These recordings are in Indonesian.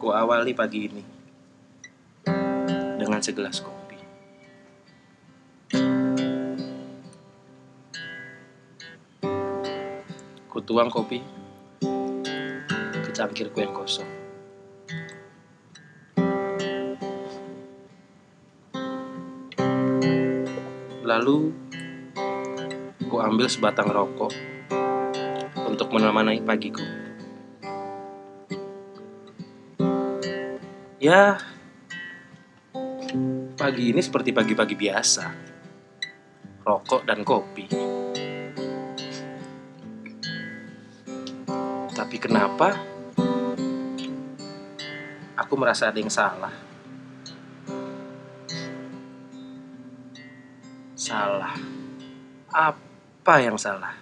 Ku awali pagi ini dengan segelas kopi. Ku tuang kopi ke cangkirku yang kosong. Lalu ku ambil sebatang rokok untuk menemani pagiku. Ya, pagi ini seperti pagi-pagi biasa. Rokok dan kopi. Tapi kenapa aku merasa ada yang salah? Salah. Apa yang salah?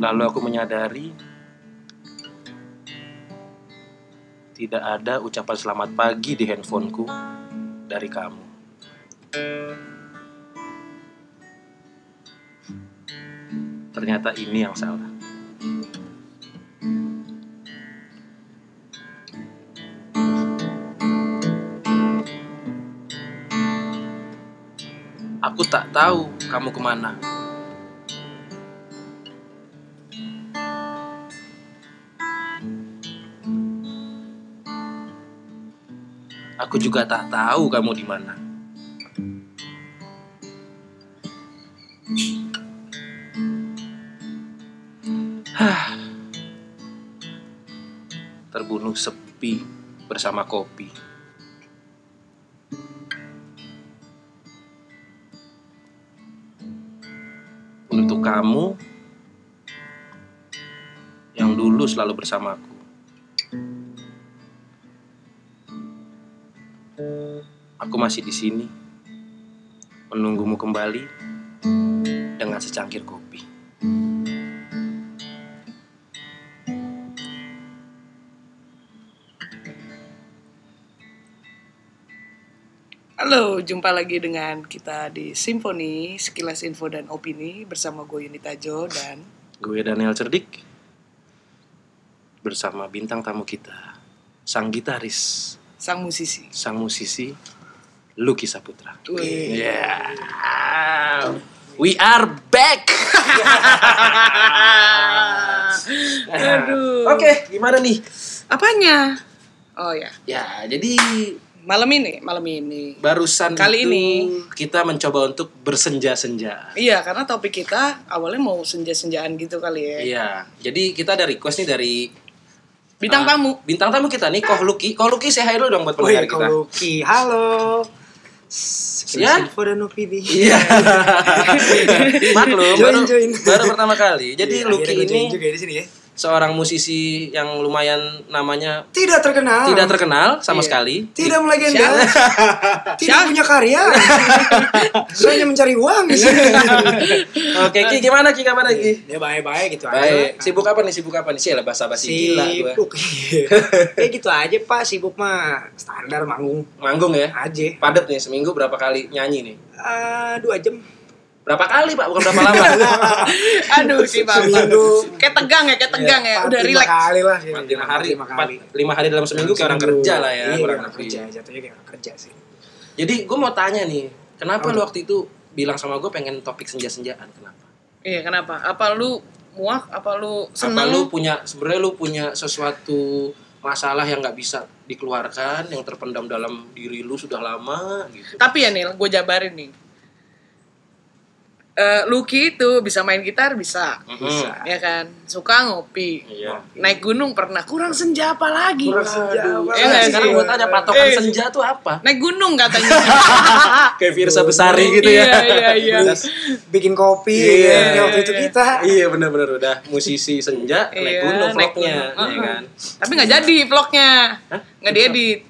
Lalu aku menyadari tidak ada ucapan selamat pagi di handphoneku dari kamu. Ternyata ini yang salah. Aku tak tahu kamu kemana. Aku juga tak tahu kamu di mana. Hah. Terbunuh sepi bersama kopi. Untuk kamu yang dulu selalu bersamaku. aku masih di sini menunggumu kembali dengan secangkir kopi. Halo, jumpa lagi dengan kita di Simfoni, Sekilas Info dan Opini bersama gue Yunita Jo dan Gue Daniel Cerdik bersama bintang tamu kita, sang gitaris, sang musisi. sang musisi Lucky Saputra. Wih. Yeah. We are back. Aduh. Oke, gimana nih? Apanya? Oh ya, Ya, jadi malam ini, malam ini. barusan Kali itu ini. kita mencoba untuk bersenja-senja. Iya, karena topik kita awalnya mau senja-senjaan gitu kali ya. Iya, jadi kita ada request nih dari Bintang Ah, tamu. Bintang tamu kita nih Koh Luki. Koh Luki saya dulu dong buat pendengar kita. Lucky, halo. Ya. Sekilas info dan opini. Iya. Maklum Join, baru, join. baru pertama kali. Jadi Iya, Luki akhirnya gua join ini juga ya di sini ya. seorang musisi yang lumayan namanya Tidak terkenal. tidak terkenal sama Iya. sekali. Tidak melegenda. Tidak Siapa? punya karya. Saya hanya mencari uang di sini. Oke, Ki gimana Ki kabar Ki? Ya baik-baik gitu Baik, aja. sibuk apa nih? Sibuk apa nih? Sih lah basa-basi gila gua. Sibuk. iya. Ya gitu aja Pak, sibuk mah standar manggung Manggung ya. aja. Padat nih seminggu berapa kali nyanyi nih? Ah, dua jam. Berapa kali, Pak? Bukan berapa lama. Aduh, si Bambang. Minggu. Kayak tegang ya, Iya, kayak tegang ya. Empat, Udah lima relax. kali lah. Empat, Lima Iya, lima hari, lima empat, lima hari dalam seminggu kayak orang kerja lah ya, Iya, kurang orang lebih. kerja. Jatuhnya kayak orang kerja sih. Jadi gue mau tanya nih, kenapa Apa? lu waktu itu bilang sama gue pengen topik senja-senjaan? Kenapa? Iya, kenapa? Apa lu muak? Apa lu Apa seneng? lu punya sebenarnya lu punya sesuatu masalah yang nggak bisa dikeluarkan, yang terpendam dalam diri lu sudah lama gitu? Tapi ya Nil, gue jabarin nih. Eh, Lucky itu bisa main gitar bisa, Mhm. Bisa. ya kan? Suka ngopi, Iya. naik gunung pernah. Kurang senja apa lagi? Kurang senja apa Eh, lagi? sekarang gue tanya patokan Eh. senja tuh apa? Naik gunung katanya. Kayak Virsa Besari gitu ya? Iya iya iya. Terus bikin kopi Iya. ya, kayak waktu itu kita iya benar-benar udah musisi senja naik Iya, gunung naik vlognya, ya gunung. Uh-uh. kan? Tapi nggak jadi vlognya, Hah? nggak diedit.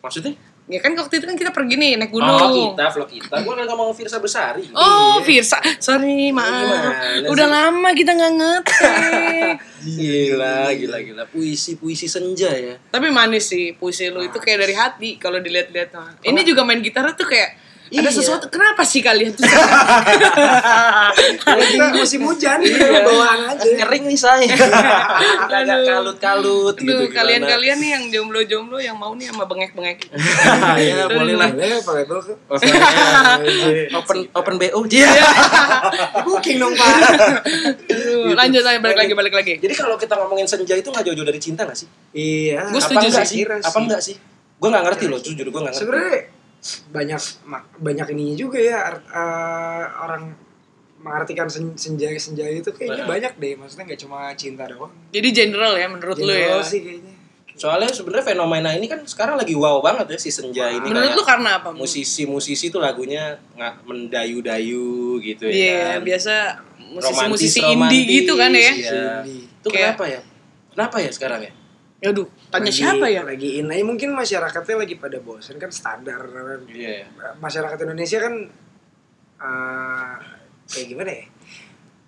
Maksudnya? Ya kan waktu itu kan kita pergi nih naik Oh gunung. kita Iya. vlog kita, gue kan ngomong Virsa Besari. Oh, Virsa, sorry Iya, maaf, Gimana udah sih? lama kita nggak ngetik. Gila, gila, gila. Puisi, puisi senja ya. Oh. Tapi manis sih puisi lu itu kayak dari hati kalau dilihat-lihat mah. Ini juga main gitar tuh kayak Ada Iya. sesuatu kenapa sih kalian tuh? Lagi musim hujan, gitu, bawaan aja. Ngering nih saya. Agak Aduh. kalut-kalut gitu. Aduh, gimana. kalian-kalian nih yang jomblo-jomblo yang mau nih sama bengek-bengek. ya boleh lah. Iya, Boleh, Pak Ebo. Open open BO. Iya. Booking dong, Pak. Aduh, Gitu. lanjut saya balik lagi balik lagi. Jadi kalau kita ngomongin senja itu nggak jauh-jauh dari cinta nggak sih? Iya. Gua Apa setuju enggak sih. Kira Apa sih. enggak sih? Gue nggak ngerti loh, jujur gue nggak ngerti. sebenarnya banyak mak- banyak ininya juga ya art- eh, orang mengartikan sen- senja senja itu kayaknya Nah. banyak deh maksudnya nggak cuma cinta doang Jadi general ya menurut lu ya. General sih kayaknya Soalnya sebenarnya fenomena ini kan sekarang lagi wow banget ya si senja ini. Menurut kayak lu karena apa? musisi-musisi tuh lagunya nggak mendayu-dayu gitu ya. kan. Iya, biasa musisi-musisi Romantis-romantis, indie gitu kan ya. iya. Indie. Itu Kayak- kenapa ya? Kenapa ya sekarang ya? Aduh, tanya Lagi- siapa ya? lagi in aja mungkin masyarakatnya lagi pada bosen kan standar Iya. ya. masyarakat Indonesia kan eh, kayak gimana ya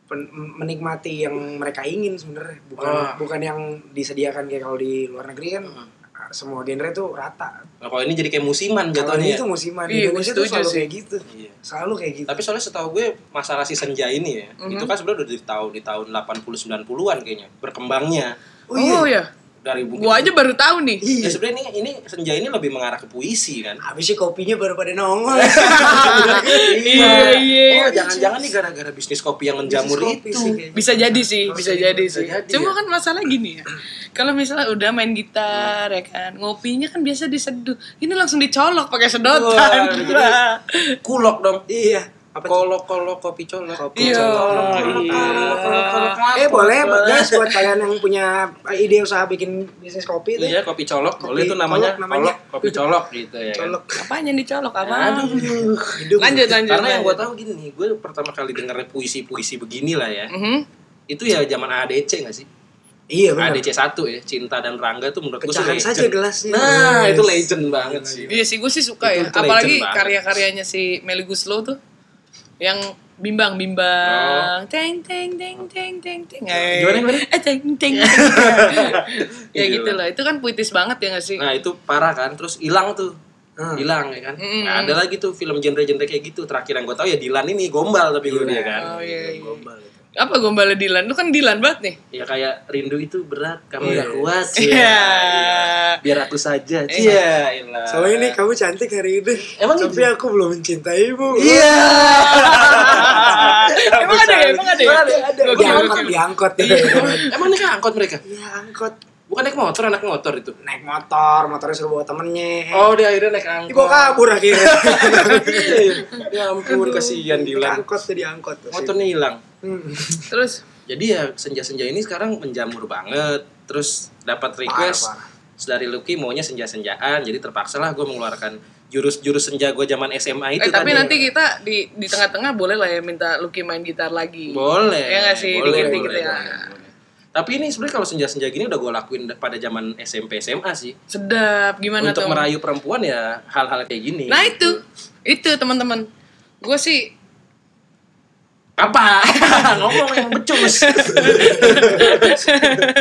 Pen- menikmati yang mereka ingin sebenarnya bukan Ah. Hmm. bukan yang disediakan kayak kalau di luar negeri kan eh, semua genre tuh rata Nah, kalau ini jadi kayak musiman Kalau jatuhnya. ini ya. tuh musiman Iya, di gua Indonesia tuh setuju selalu sih. kayak gitu. Iya. Selalu kayak gitu. Tapi soalnya setahu gue masalah si senja ini ya, Mhm. itu kan sebenarnya udah di tahun di tahun 80 90-an kayaknya berkembangnya Oh iya. dari mungkin Gua aja baru tahu nih. Ya Iya. sebenarnya ini ini senja ini lebih mengarah ke puisi kan. Habis sih kopinya baru pada nongol. ah, Iya, iya. Oh, jangan-jangan nih gara-gara bisnis kopi yang menjamur Kopi itu. sih kayaknya. Bisa jadi sih, Bisa bisa jadi, jadi bisa sih. jadi Cuma ya. kan masalah gini ya. Kalau misalnya udah main gitar ya kan, ngopinya kan biasa diseduh. Ini langsung dicolok pakai sedotan. Wah, Kulok dong. Iya. Apa tuh? Kolok-kolok kopi colok. Kopi Iya. colok. Kolok-kolok. Eh boleh guys buat kalian yang punya ide usaha bikin bisnis kopi itu. Iya, kopi colok. Kopi Boleh itu namanya colok namanya. colok, kopi colok gitu ya. kan. Colok Apanya yang dicolok apa? Aduh. hidung. Lanjut lanjut. Karena yang gue lanjut. tahu gini nih, gue pertama kali denger puisi-puisi beginilah ya. Mhm. Itu ya zaman ADC gak sih? Iya benar. ADC 1 ya, Cinta dan Rangga tuh menurut gue sih Pecahan legend. saja gelasnya. Nah, Yes. itu legend banget sih. Iya sih, gue sih suka Itu- ya. itu legend Apalagi banget. karya-karyanya si Melly Guslow tuh yang bimbang bimbang teng teng teng teng teng teng Eh, Oh. Gimana, gimana? eh teng teng ya Gila. gitu lah itu kan puitis banget ya nggak sih Iya. Nah, itu parah kan. Terus hilang tuh. Hmm. Hilang ya kan. Mm-mm. Nah, ada lagi tuh film genre-genre kayak gitu. Terakhir yang gue tahu ya Dilan ini gombal tapi gue dia kan. oh iya, iya. Gombal. itu. apa gombalnya Dilan lu kan Dilan banget Ya nih kayak rindu itu berat, kamu Iya. gak kuat. Iya. Biar aku saja. Iya, ilah. Soalnya nih kamu cantik hari ini. Emang gitu? tapi aku belum mencintaimu. Iya. emang ada ya emang ada Iya. ya Ada, ada. Gokil, Diangkot, gokil. diangkot. Iya. Emang naik angkot mereka? Iya, angkot. Bukan naik motor, anak motor itu. naik motor, motornya suruh bawa temennya. Oh, dia akhirnya naik angkot. Dibawa kabur akhirnya. ya ampun, kasihan Dilan. Diangkot tuh diangkot. tuh. Motornya hilang. Hmm. terus Jadi ya senja-senja ini sekarang menjamur banget. Terus dapat request Parah, dari Lucky maunya senja-senjaan. Jadi terpaksalah gue mengeluarkan jurus-jurus senja gue zaman SMA itu eh tadi. tapi nanti kita di di tengah-tengah boleh lah ya minta Lucky main gitar lagi boleh. ya nggak sih boleh, dikit-dikit boleh, ya boleh, boleh. Tapi ini sebenarnya kalau senja-senja gini udah gue lakuin pada zaman SMP SMA sih. sedap gimana Untuk tuh merayu perempuan ya hal-hal kayak gini. Nah itu, itu teman-teman. Gue sih Apa? Ngomong yang becus.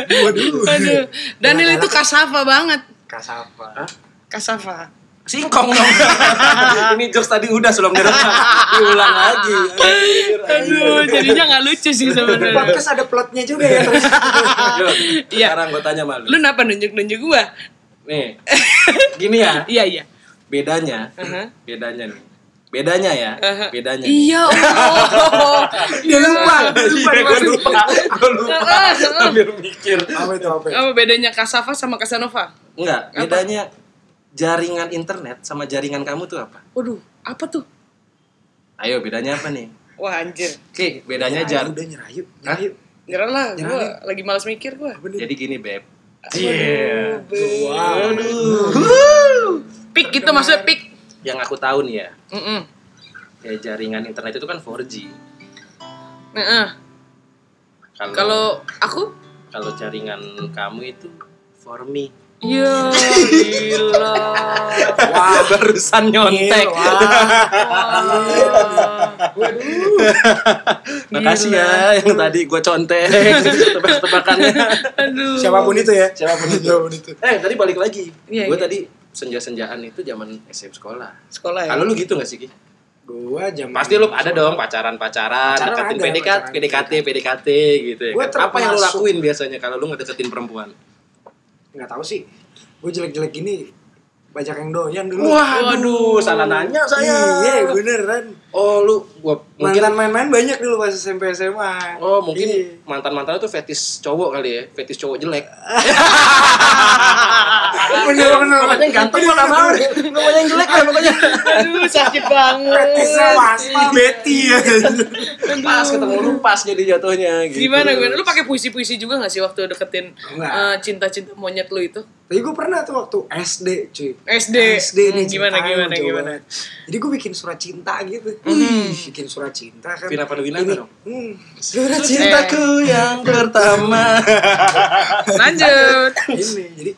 Waduh. Aduh, Daniel itu kasava banget. Kasapa. Kasava. Singkong dong. ini jokes tadi udah sebelum dia rekam. diulang lagi. Aduh, jadinya nggak lucu sih sebenarnya. Podcast ada plotnya juga ya. terus. Yo, Iya. Sekarang gue tanya malu. Lu kenapa nunjuk-nunjuk gua? Nih, gini ya, Iya, iya. bedanya, Aha. bedanya nih, bedanya ya, Aha. bedanya. nih. Iya, oh. Dia lupa. dia lupa, Iya, dia gue masih- lupa, gue lupa, Heeh, heeh. sambil mikir. Apa itu apa? itu? Apa bedanya kasava sama kasanova? Enggak, bedanya jaringan internet sama jaringan kamu tuh apa? Waduh, apa tuh? Ayo, bedanya apa nih? Wah anjir. Oke, bedanya Iya, jar. Udah nyerayu. Hah? Nyerayu. Nyerah lah, gue Nyerah. lagi malas mikir gue. Jadi gini, Beb. Iya. Wow. Pik itu maksudnya pik. Yang aku tahu nih ya, Heeh. kayak jaringan internet itu kan 4G. Heeh. Kalau aku kalau jaringan kamu itu for me. Ya gila. Wah, barusan nyontek. Ah. Makasih ya yang tadi gue contek tebak-tebakannya. Aduh. Siapapun itu ya. Siapapun itu. Siapapun itu. eh, tadi balik lagi. Iya, gue iya. tadi senja-senjaan itu zaman SMP sekolah. Sekolah ya. Eh. Kalau lu gitu gak sih, Ki? Gua zaman Pasti lu ada dong pacaran-pacaran, Pacaran deketin ada, PDKT, pacaran. PDKT, PDKT gitu ya. Gua kan. Apa yang lu termasuk- lakuin biasanya kalau lu ngedeketin perempuan? nggak tahu sih. Gue jelek-jelek gini banyak yang doyan dulu. Waduh, salah nanya saya. Iya, beneran. Oh, lu gua mungkin Mantan main-main banyak dulu pas SMP SMA. Oh, mungkin Iya. mantan-mantan itu fetis cowok kali ya, fetis cowok jelek. bener bener Pokoknya ganteng mau Bener, mau. bener. Pokoknya yang jelek lah pokoknya. Aduh sakit banget. Praktisnya waspa Betty ya. Pas ketemu lu pas jadi jatuhnya gitu. Gimana gue? Lu pakai puisi-puisi juga gak sih waktu deketin Enggak. eh, cinta-cinta monyet lu itu? Tapi gue pernah tuh waktu SD cuy. SD. SD Hmm, nih gimana ceritain gimana jauh gimana. banget. Jadi gue bikin surat cinta gitu. Bikin surat cinta kan. Vina Panduwinata Ini, dong. hmm, Surat cintaku Cintaku Eh. yang pertama. Lanjut. ini. Jadi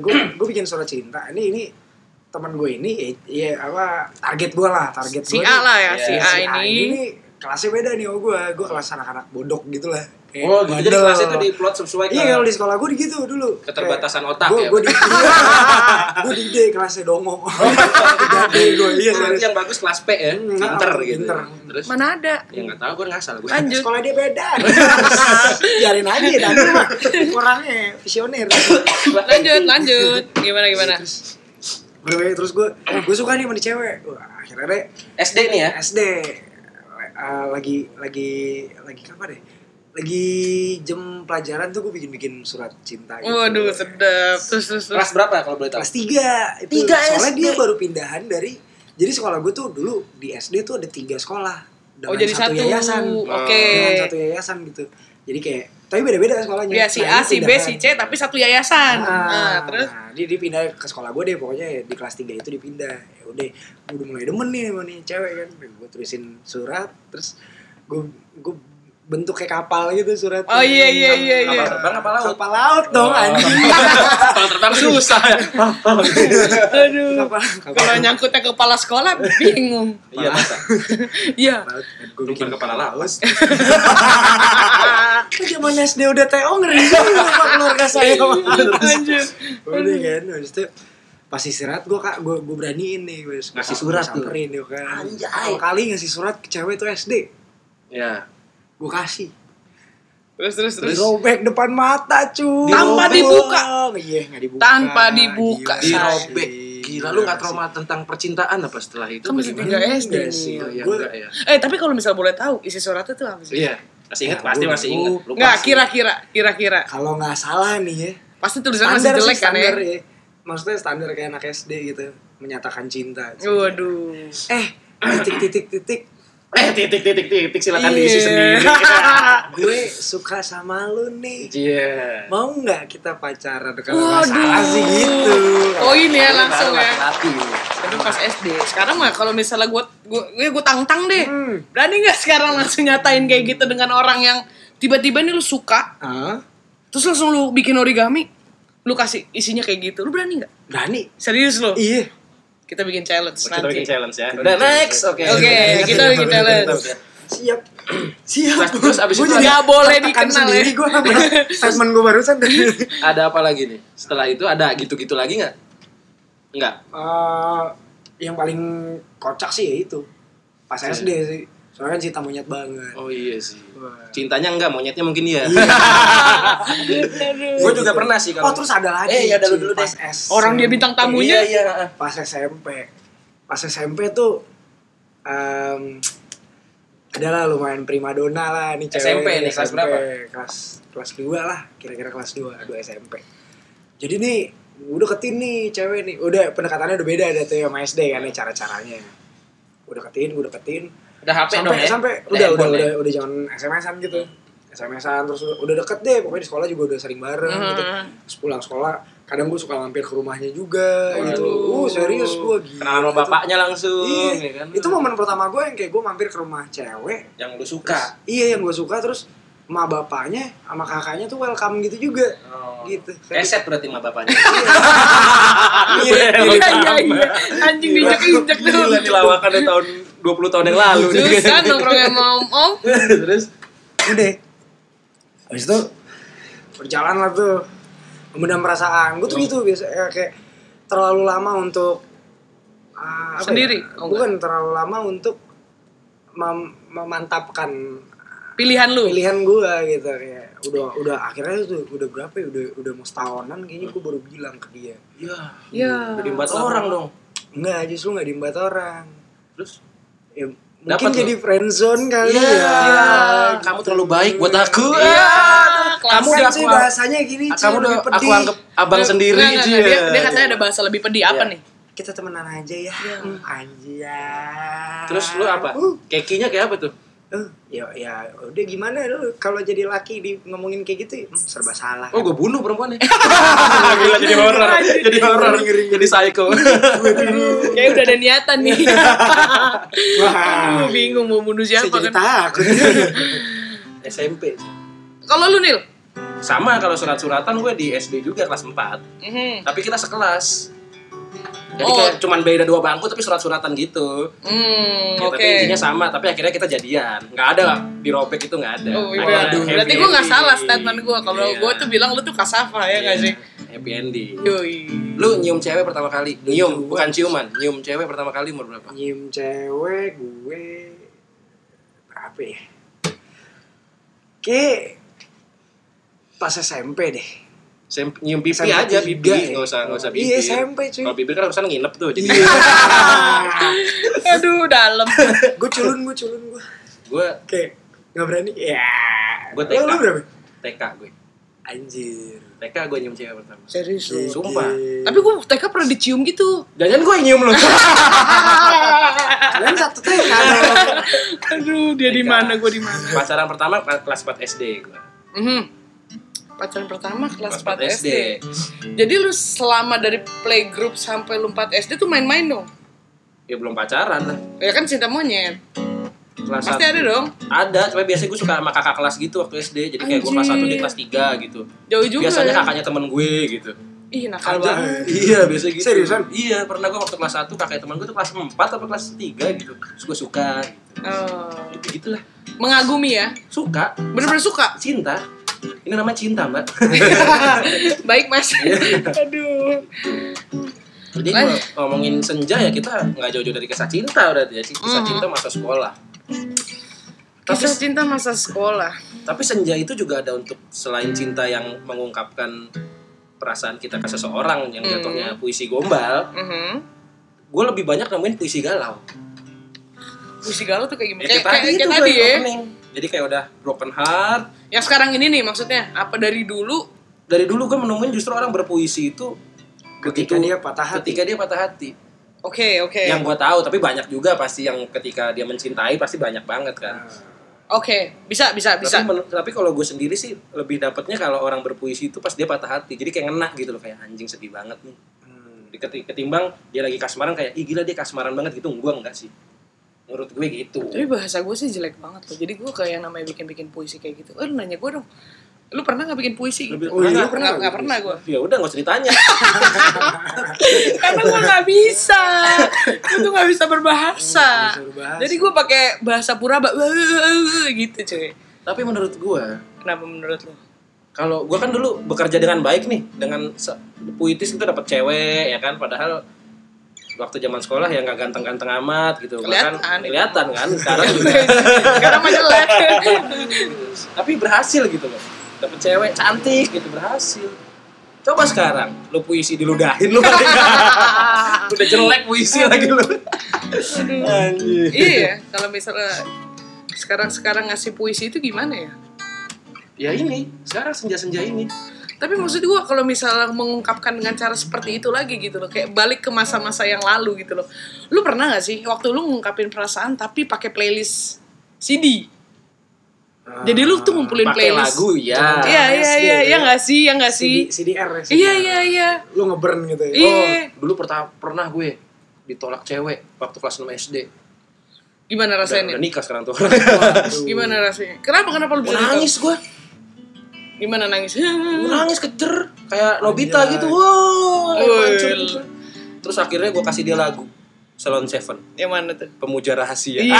gue gue bikin surat cinta. Ini ini teman gue ini ya apa target gue lah target Si gue A nih. lah ya, Iya, si Ya, A si ini. nih kelasnya beda nih sama gue gue kelas anak-anak bodok gitu lah Kayak Oh, gitu jadi bandel. kelasnya tuh diplot sesuai iya ke- kalau di sekolah gue gitu dulu Keterbatasan otak gue, ya? gue di gue di D kelasnya dongo tiga D gue iya Berarti serius yang bagus kelas P ya, Hmm, pinter gitu. pinter. Terus Mana ada? ya nggak tahu gue ngasal gue. Lanjut. sekolah dia beda biarin aja dan lu mah orangnya visioner eh, Lanjut, lanjut. Gimana gimana? terus gue terus gue gue suka nih sama di cewek Wah, akhirnya deh SD nih ya. SD eh, lagi lagi lagi kapan deh? Lagi jam pelajaran tuh gue bikin-bikin surat cinta gitu. Waduh, sedap. Terus terus terus. Kelas berapa kalau boleh tahu? Kelas 3. Itu. Tiga Soalnya SD. dia baru pindahan dari jadi sekolah gue tuh dulu di SD tuh ada tiga sekolah dengan Oh, jadi satu, satu. yayasan. Oh. Oke. Dengan satu yayasan gitu. Jadi kayak tapi beda-beda sekolahnya. Ya si A, Nah, ini si B, pindahan. si C tapi satu yayasan. Nah, Ah, terus nah, dia, dia pindah ke sekolah gue deh pokoknya ya, di kelas 3 itu dipindah ya udah gue udah mulai demen nih sama nih cewek kan gue tulisin surat terus gue gue bentuk kayak kapal gitu surat Oh, iya, iya, iya, iya. Kapal terbang, kapal laut? kapal laut Oh. dong anjing Kalau terbang susah ya. aduh. kapal kapal Kalau nyangkutnya ke kepala sekolah bingung. Iya masa. Iya. laut gue Lu bukan kepala laut. kan zaman SD udah TO ngeri juga sama keluarga saya Lanjut. udah kan habis itu pas istirahat gue kak gue gue beraniin nih gue Ngasih surat tuh. samperin ya kan Anjay. Pertama kali ngasih surat ke cewek tuh SD Ya. gue kasih Terus terus terus. dirobek depan mata cuy Tanpa Dirobek. dibuka. iya nggak dibuka Iya, Tanpa dibuka, sih. Dirobek. Gila lu nggak trauma tentang percintaan apa setelah itu? Kan apa masih gimana? tiga SD Iya sih. nih. Oh, iya, Gua- enggak ya. Eh tapi kalau misal boleh tahu isi suratnya tuh apa sih? Iya. Masih ingat Ya, pasti gua- masih ingat. gua- Lu Enggak, pasti- kira-kira, kira-kira. kalau nggak salah nih ya Pasti tulisannya masih sih, jelek kan ya. standar ya maksudnya standar kayak anak SD gitu menyatakan cinta Waduh. eh titik titik titik Eh titik titik titik silakan diisi Iya. sendiri. gue suka sama lu nih Iya. mau nggak kita pacaran kalau nggak salah sih gitu Oh ini ya langsung Baru ya. laki-laki. Itu pas SD. Sekarang mah kalau misalnya gue gue gue tang-tang deh. Hmm. Berani nggak sekarang langsung nyatain kayak gitu dengan orang yang tiba-tiba nih lu suka, ah terus langsung lu bikin origami, lu kasih isinya kayak gitu. Lu berani nggak? berani Serius lu? iya Kita bikin challenge Kita bikin nanti. challenge ya. Udah next. Oke. Oke, Iya, kita bikin challenge. siap siap Terus- terus abis Gua itu jadi nggak boleh tertekan dikenal sendiri ya. gue sama statement gue barusan Ada apa lagi nih? Setelah itu ada gitu-gitu lagi nggak? Nggak. Eh, yang paling kocak sih ya itu pas Iya. SD sih soalnya kan cinta monyet banget Oh iya sih. Wah. Cintanya enggak, monyetnya mungkin iya. Aduh. Gue juga pernah sih kalau. oh terus ada lagi Eh, ya udah lu cuy, dulu pas deh. S Orang dia bintang tamunya. Iya, iya. pas SMP pas SMP tuh em adalah lumayan primadona lah nih cewek SMP nih, kelas berapa? kelas kelas dua lah kira-kira kelas 2 aduh SMP jadi nih udah ketin nih cewek nih udah pendekatannya udah beda ada tuh ya sama SD kan ya, cara-caranya udah ketin udah ketin Udah HP sampai dong ya. sampai udah udah udah udah jangan SMS-an gitu SMS-an terus udah deket deh pokoknya di sekolah juga udah sering bareng gitu Hmm. terus pulang sekolah kadang gue suka mampir ke rumahnya juga Waduh. gitu uh serius gue gitu Kenalan sama bapaknya langsung iya ya kan. itu momen pertama gue yang kayak gue mampir ke rumah cewek yang lu terus, suka. iya yang gue suka terus sama bapaknya sama kakaknya tuh welcome gitu juga Oh. gitu Keset berarti sama bapaknya. Iya, iya, iya. Anjing diinjek-injek Gila tuh. nih lawakannya tahun 20 tahun yang lalu nih. Terus kan nongkrongnya sama om-om. Terus udah habis itu berjalan lah tuh ya, memendam perasaan gue tuh gitu biasa eh, kayak terlalu lama untuk ah, apa Sendiri? ya, Oh, bukan terlalu lama untuk mem- memantapkan Pilihan lu. pilihan gue gitu kayak udah udah akhirnya tuh udah berapa ya udah udah mau setahunan kayaknya gue baru bilang ke dia Iya. Ya. Udah diembat orang dong. enggak justru nggak diembat orang Terus ya, mungkin Dapat lu? jadi friendzone kali Iya. ya Kamu terlalu baik buat aku. Iya. Kamu Kan udah sih aku bahasanya gini Ci, kamu udah lebih aku pedih. anggap abang Nggak, sendiri nggak, nggak, Ci. Dia, dia katanya ada bahasa lebih pedih apa Iya. nih? kita temenan aja ya Iya. Hmm, aja Terus lu apa? Uh, Kekinya kayak apa tuh? uh, ya ya udah gimana lu kalau jadi laki di ngomongin kayak gitu hmm, serba salah Oh, gue bunuh perempuannya. Gila jadi horor. Jadi horor. Jadi psycho. Kayak udah ada niatan nih. wah Aduh, bingung mau bunuh saya siapa jadi kan. takut SMP. Ci. Kalau lu Nil? Sama kalau surat-suratan gue di SD juga kelas 4. Mhm. tapi kita sekelas jadi Oh. kayak cuman beda dua bangku tapi surat-suratan gitu Hmm, Ya, oke. tapi intinya sama tapi akhirnya kita jadian nggak ada dirobek itu nggak ada Oh, iya. Akhirnya happy Berarti gue gak ending. salah statement gue Kalau Iya. gue tuh bilang lu tuh kasafa ya gak Iya, sih? happy ending Yoi lu nyium cewek pertama kali nyium Nyium. bukan ciuman nyium cewek pertama kali umur berapa nyium cewek gue berapa ya Oke pas SMP deh Sem nyium pipi SMP aja tiga, pipi ya. nggak usah nggak usah Iya, bibir SMP, cuy. kalau bibir kan urusan nginep tuh jadi Aduh dalam gue culun gue culun gue gue kayak nggak berani ya Gua Lo- lo TK. berapa TK gue anjir TK gue nyium cewek pertama Serius lu. Sumpah. Gigi. Tapi gue TK pernah dicium gitu jangan gue yang nyium lu kalian satu TK dong. Aduh dia di mana gue di mana pacaran pertama kelas 4 SD gue Mhm. Pacaran pertama kelas 4 SD. SD. Jadi lu selama dari playgroup sampai lu 4 SD tuh main-main dong. ya belum pacaran lah Ya kan cinta monyet. kelas Pasti satu. ada dong. ada cuma biasanya gue suka sama kakak kelas gitu waktu SD jadi kayak gue kelas Anjir. 1 dia kelas 3 gitu Jauh juga. biasanya ya. kakaknya temen gue gitu Ih nakal Ada. banget. iya biasanya gitu Seriusan? iya pernah gue waktu kelas 1 kakak temen gue tuh kelas 4 atau kelas 3 gitu terus gue suka Oh. gitu gitulah Mengagumi ya. suka Bener-bener suka. cinta ini namanya cinta mbak Baik mas. Iya. Aduh. jadi kalau ngomongin senja ya kita nggak jauh-jauh dari kisah cinta berarti ya kisah Mhm. cinta masa sekolah tapi Kisah cinta masa sekolah. Tapi senja itu juga ada untuk selain cinta yang mengungkapkan perasaan kita ke seseorang yang Hmm. jatuhnya puisi gombal, Mhm. gue lebih banyak nemuin puisi galau. Puisi galau tuh kayak gimana? Ya, Kayak, kayak tadi kayak, itu kayak tadi gue ya. opening. Jadi kayak udah broken heart. Yang sekarang ini nih maksudnya. Apa dari dulu? Dari dulu gue menemuin justru orang berpuisi itu ketika dia patah hati ketika dia patah hati. Oke oke. Yang gue tahu, tapi banyak juga pasti yang ketika dia mencintai pasti banyak banget kan. Oke. Bisa bisa Nah, bisa. Tapi, men- tapi kalau gue sendiri sih lebih dapetnya kalau orang berpuisi itu pas dia patah hati. Jadi kayak ngena gitu loh kayak anjing sedih banget nih. Hmm. Diketi- ketimbang dia lagi kasmaran kayak ih gila dia kasmaran banget gitu gua enggak sih menurut gue gitu Tapi bahasa gue sih jelek banget loh. Jadi gue kayak yang namanya bikin-bikin puisi kayak gitu. Eh, lu nanya gue dong. Lu pernah gak bikin puisi? Lebih- Gitu? Oh, iya, lu Nggak- pernah nggak- nggak nggak bikin pernah gue. ya udah nggak usah ditanya Karena gue gak bisa. Gue tuh gak bisa berbahasa. Nggak bisa berbahasa. Jadi gue pakai bahasa puraba. Gitu cuy. tapi menurut gue Kenapa menurut lu? kalau gue kan dulu bekerja dengan baik nih dengan se- puitis itu dapat cewek ya kan padahal waktu zaman sekolah ya nggak ganteng-ganteng amat gitu Kelihatan. Bahkan- kelihatan kan sekarang juga Sekarang mah jelek. tapi berhasil gitu loh dapet cewek cantik gitu berhasil coba sekarang lu puisi diludahin lu paling udah jelek puisi lagi lu anjir iya, kalau misalnya sekarang sekarang ngasih puisi itu gimana ya? ya ini sekarang senja-senja ini Tapi maksud gue kalau misalnya mengungkapkan dengan cara seperti itu lagi gitu loh Kayak balik ke masa-masa yang lalu gitu loh Lu pernah gak sih waktu lu ngungkapin perasaan tapi pakai playlist CD? Ah, Jadi lu tuh ngumpulin pakai playlist lagu ya Iya, iya, SD, iya, gitu iya ya. gak sih, iya gak sih? CD, CDR ya Iya, CDR. iya, iya lu ngeburn gitu ya Iya. oh dulu pertama pernah gue ditolak cewek waktu kelas 6 SD Gimana udah, rasanya? udah nikah sekarang tuh Waduh. Gimana rasanya? Kenapa, kenapa lu gue bisa nangis? nangis gue Gimana nangis? gue nangis kejer kayak Nobita Anjay. gitu wow Wih. mancur gitu. terus akhirnya gue kasih dia lagu Salon Seven Yang mana tuh? pemuja rahasia Iya.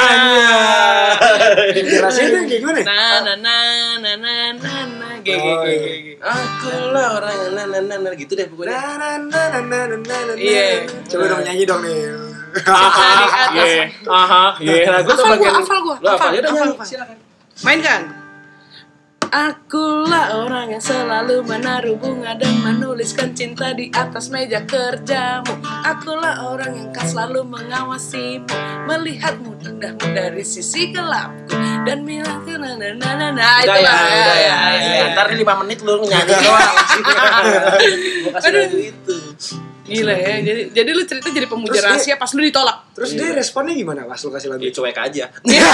Gimana rasanya tuh kayak gimana ya? Na na na na na na na Ge, ge, ge, ge, ge. aku lah orang yang na na na na gitu deh pokoknya Na, na, na, na, na, na, na, na. Iya. Coba dong nyanyi dong nih. Cerita di atas. Iya. Aha, iya. Nah, gua tuh Hafal bagian gua, hafal gua, Lu hafal hafal, ya udah hafal, nyanyi, hafal. silakan. Mainkan. Akulah orang yang selalu menaruh bunga dan menuliskan cinta di atas meja kerjamu. Akulah orang yang kan selalu mengawasimu, melihatmu indahmu dari sisi gelapku dan bilang na na na na na Udah ya, itulah. udah ya. Iya, Ntar di 5 menit lu nyanyi doang. Gua kasih Aduh. lagu itu. Gila ya. Jadi jadi lu cerita jadi pemuja Terus dia- rahasia pas lu ditolak. Terus dia responnya gimana pas lu kasih lagu Ya itu? cuek aja. Ya,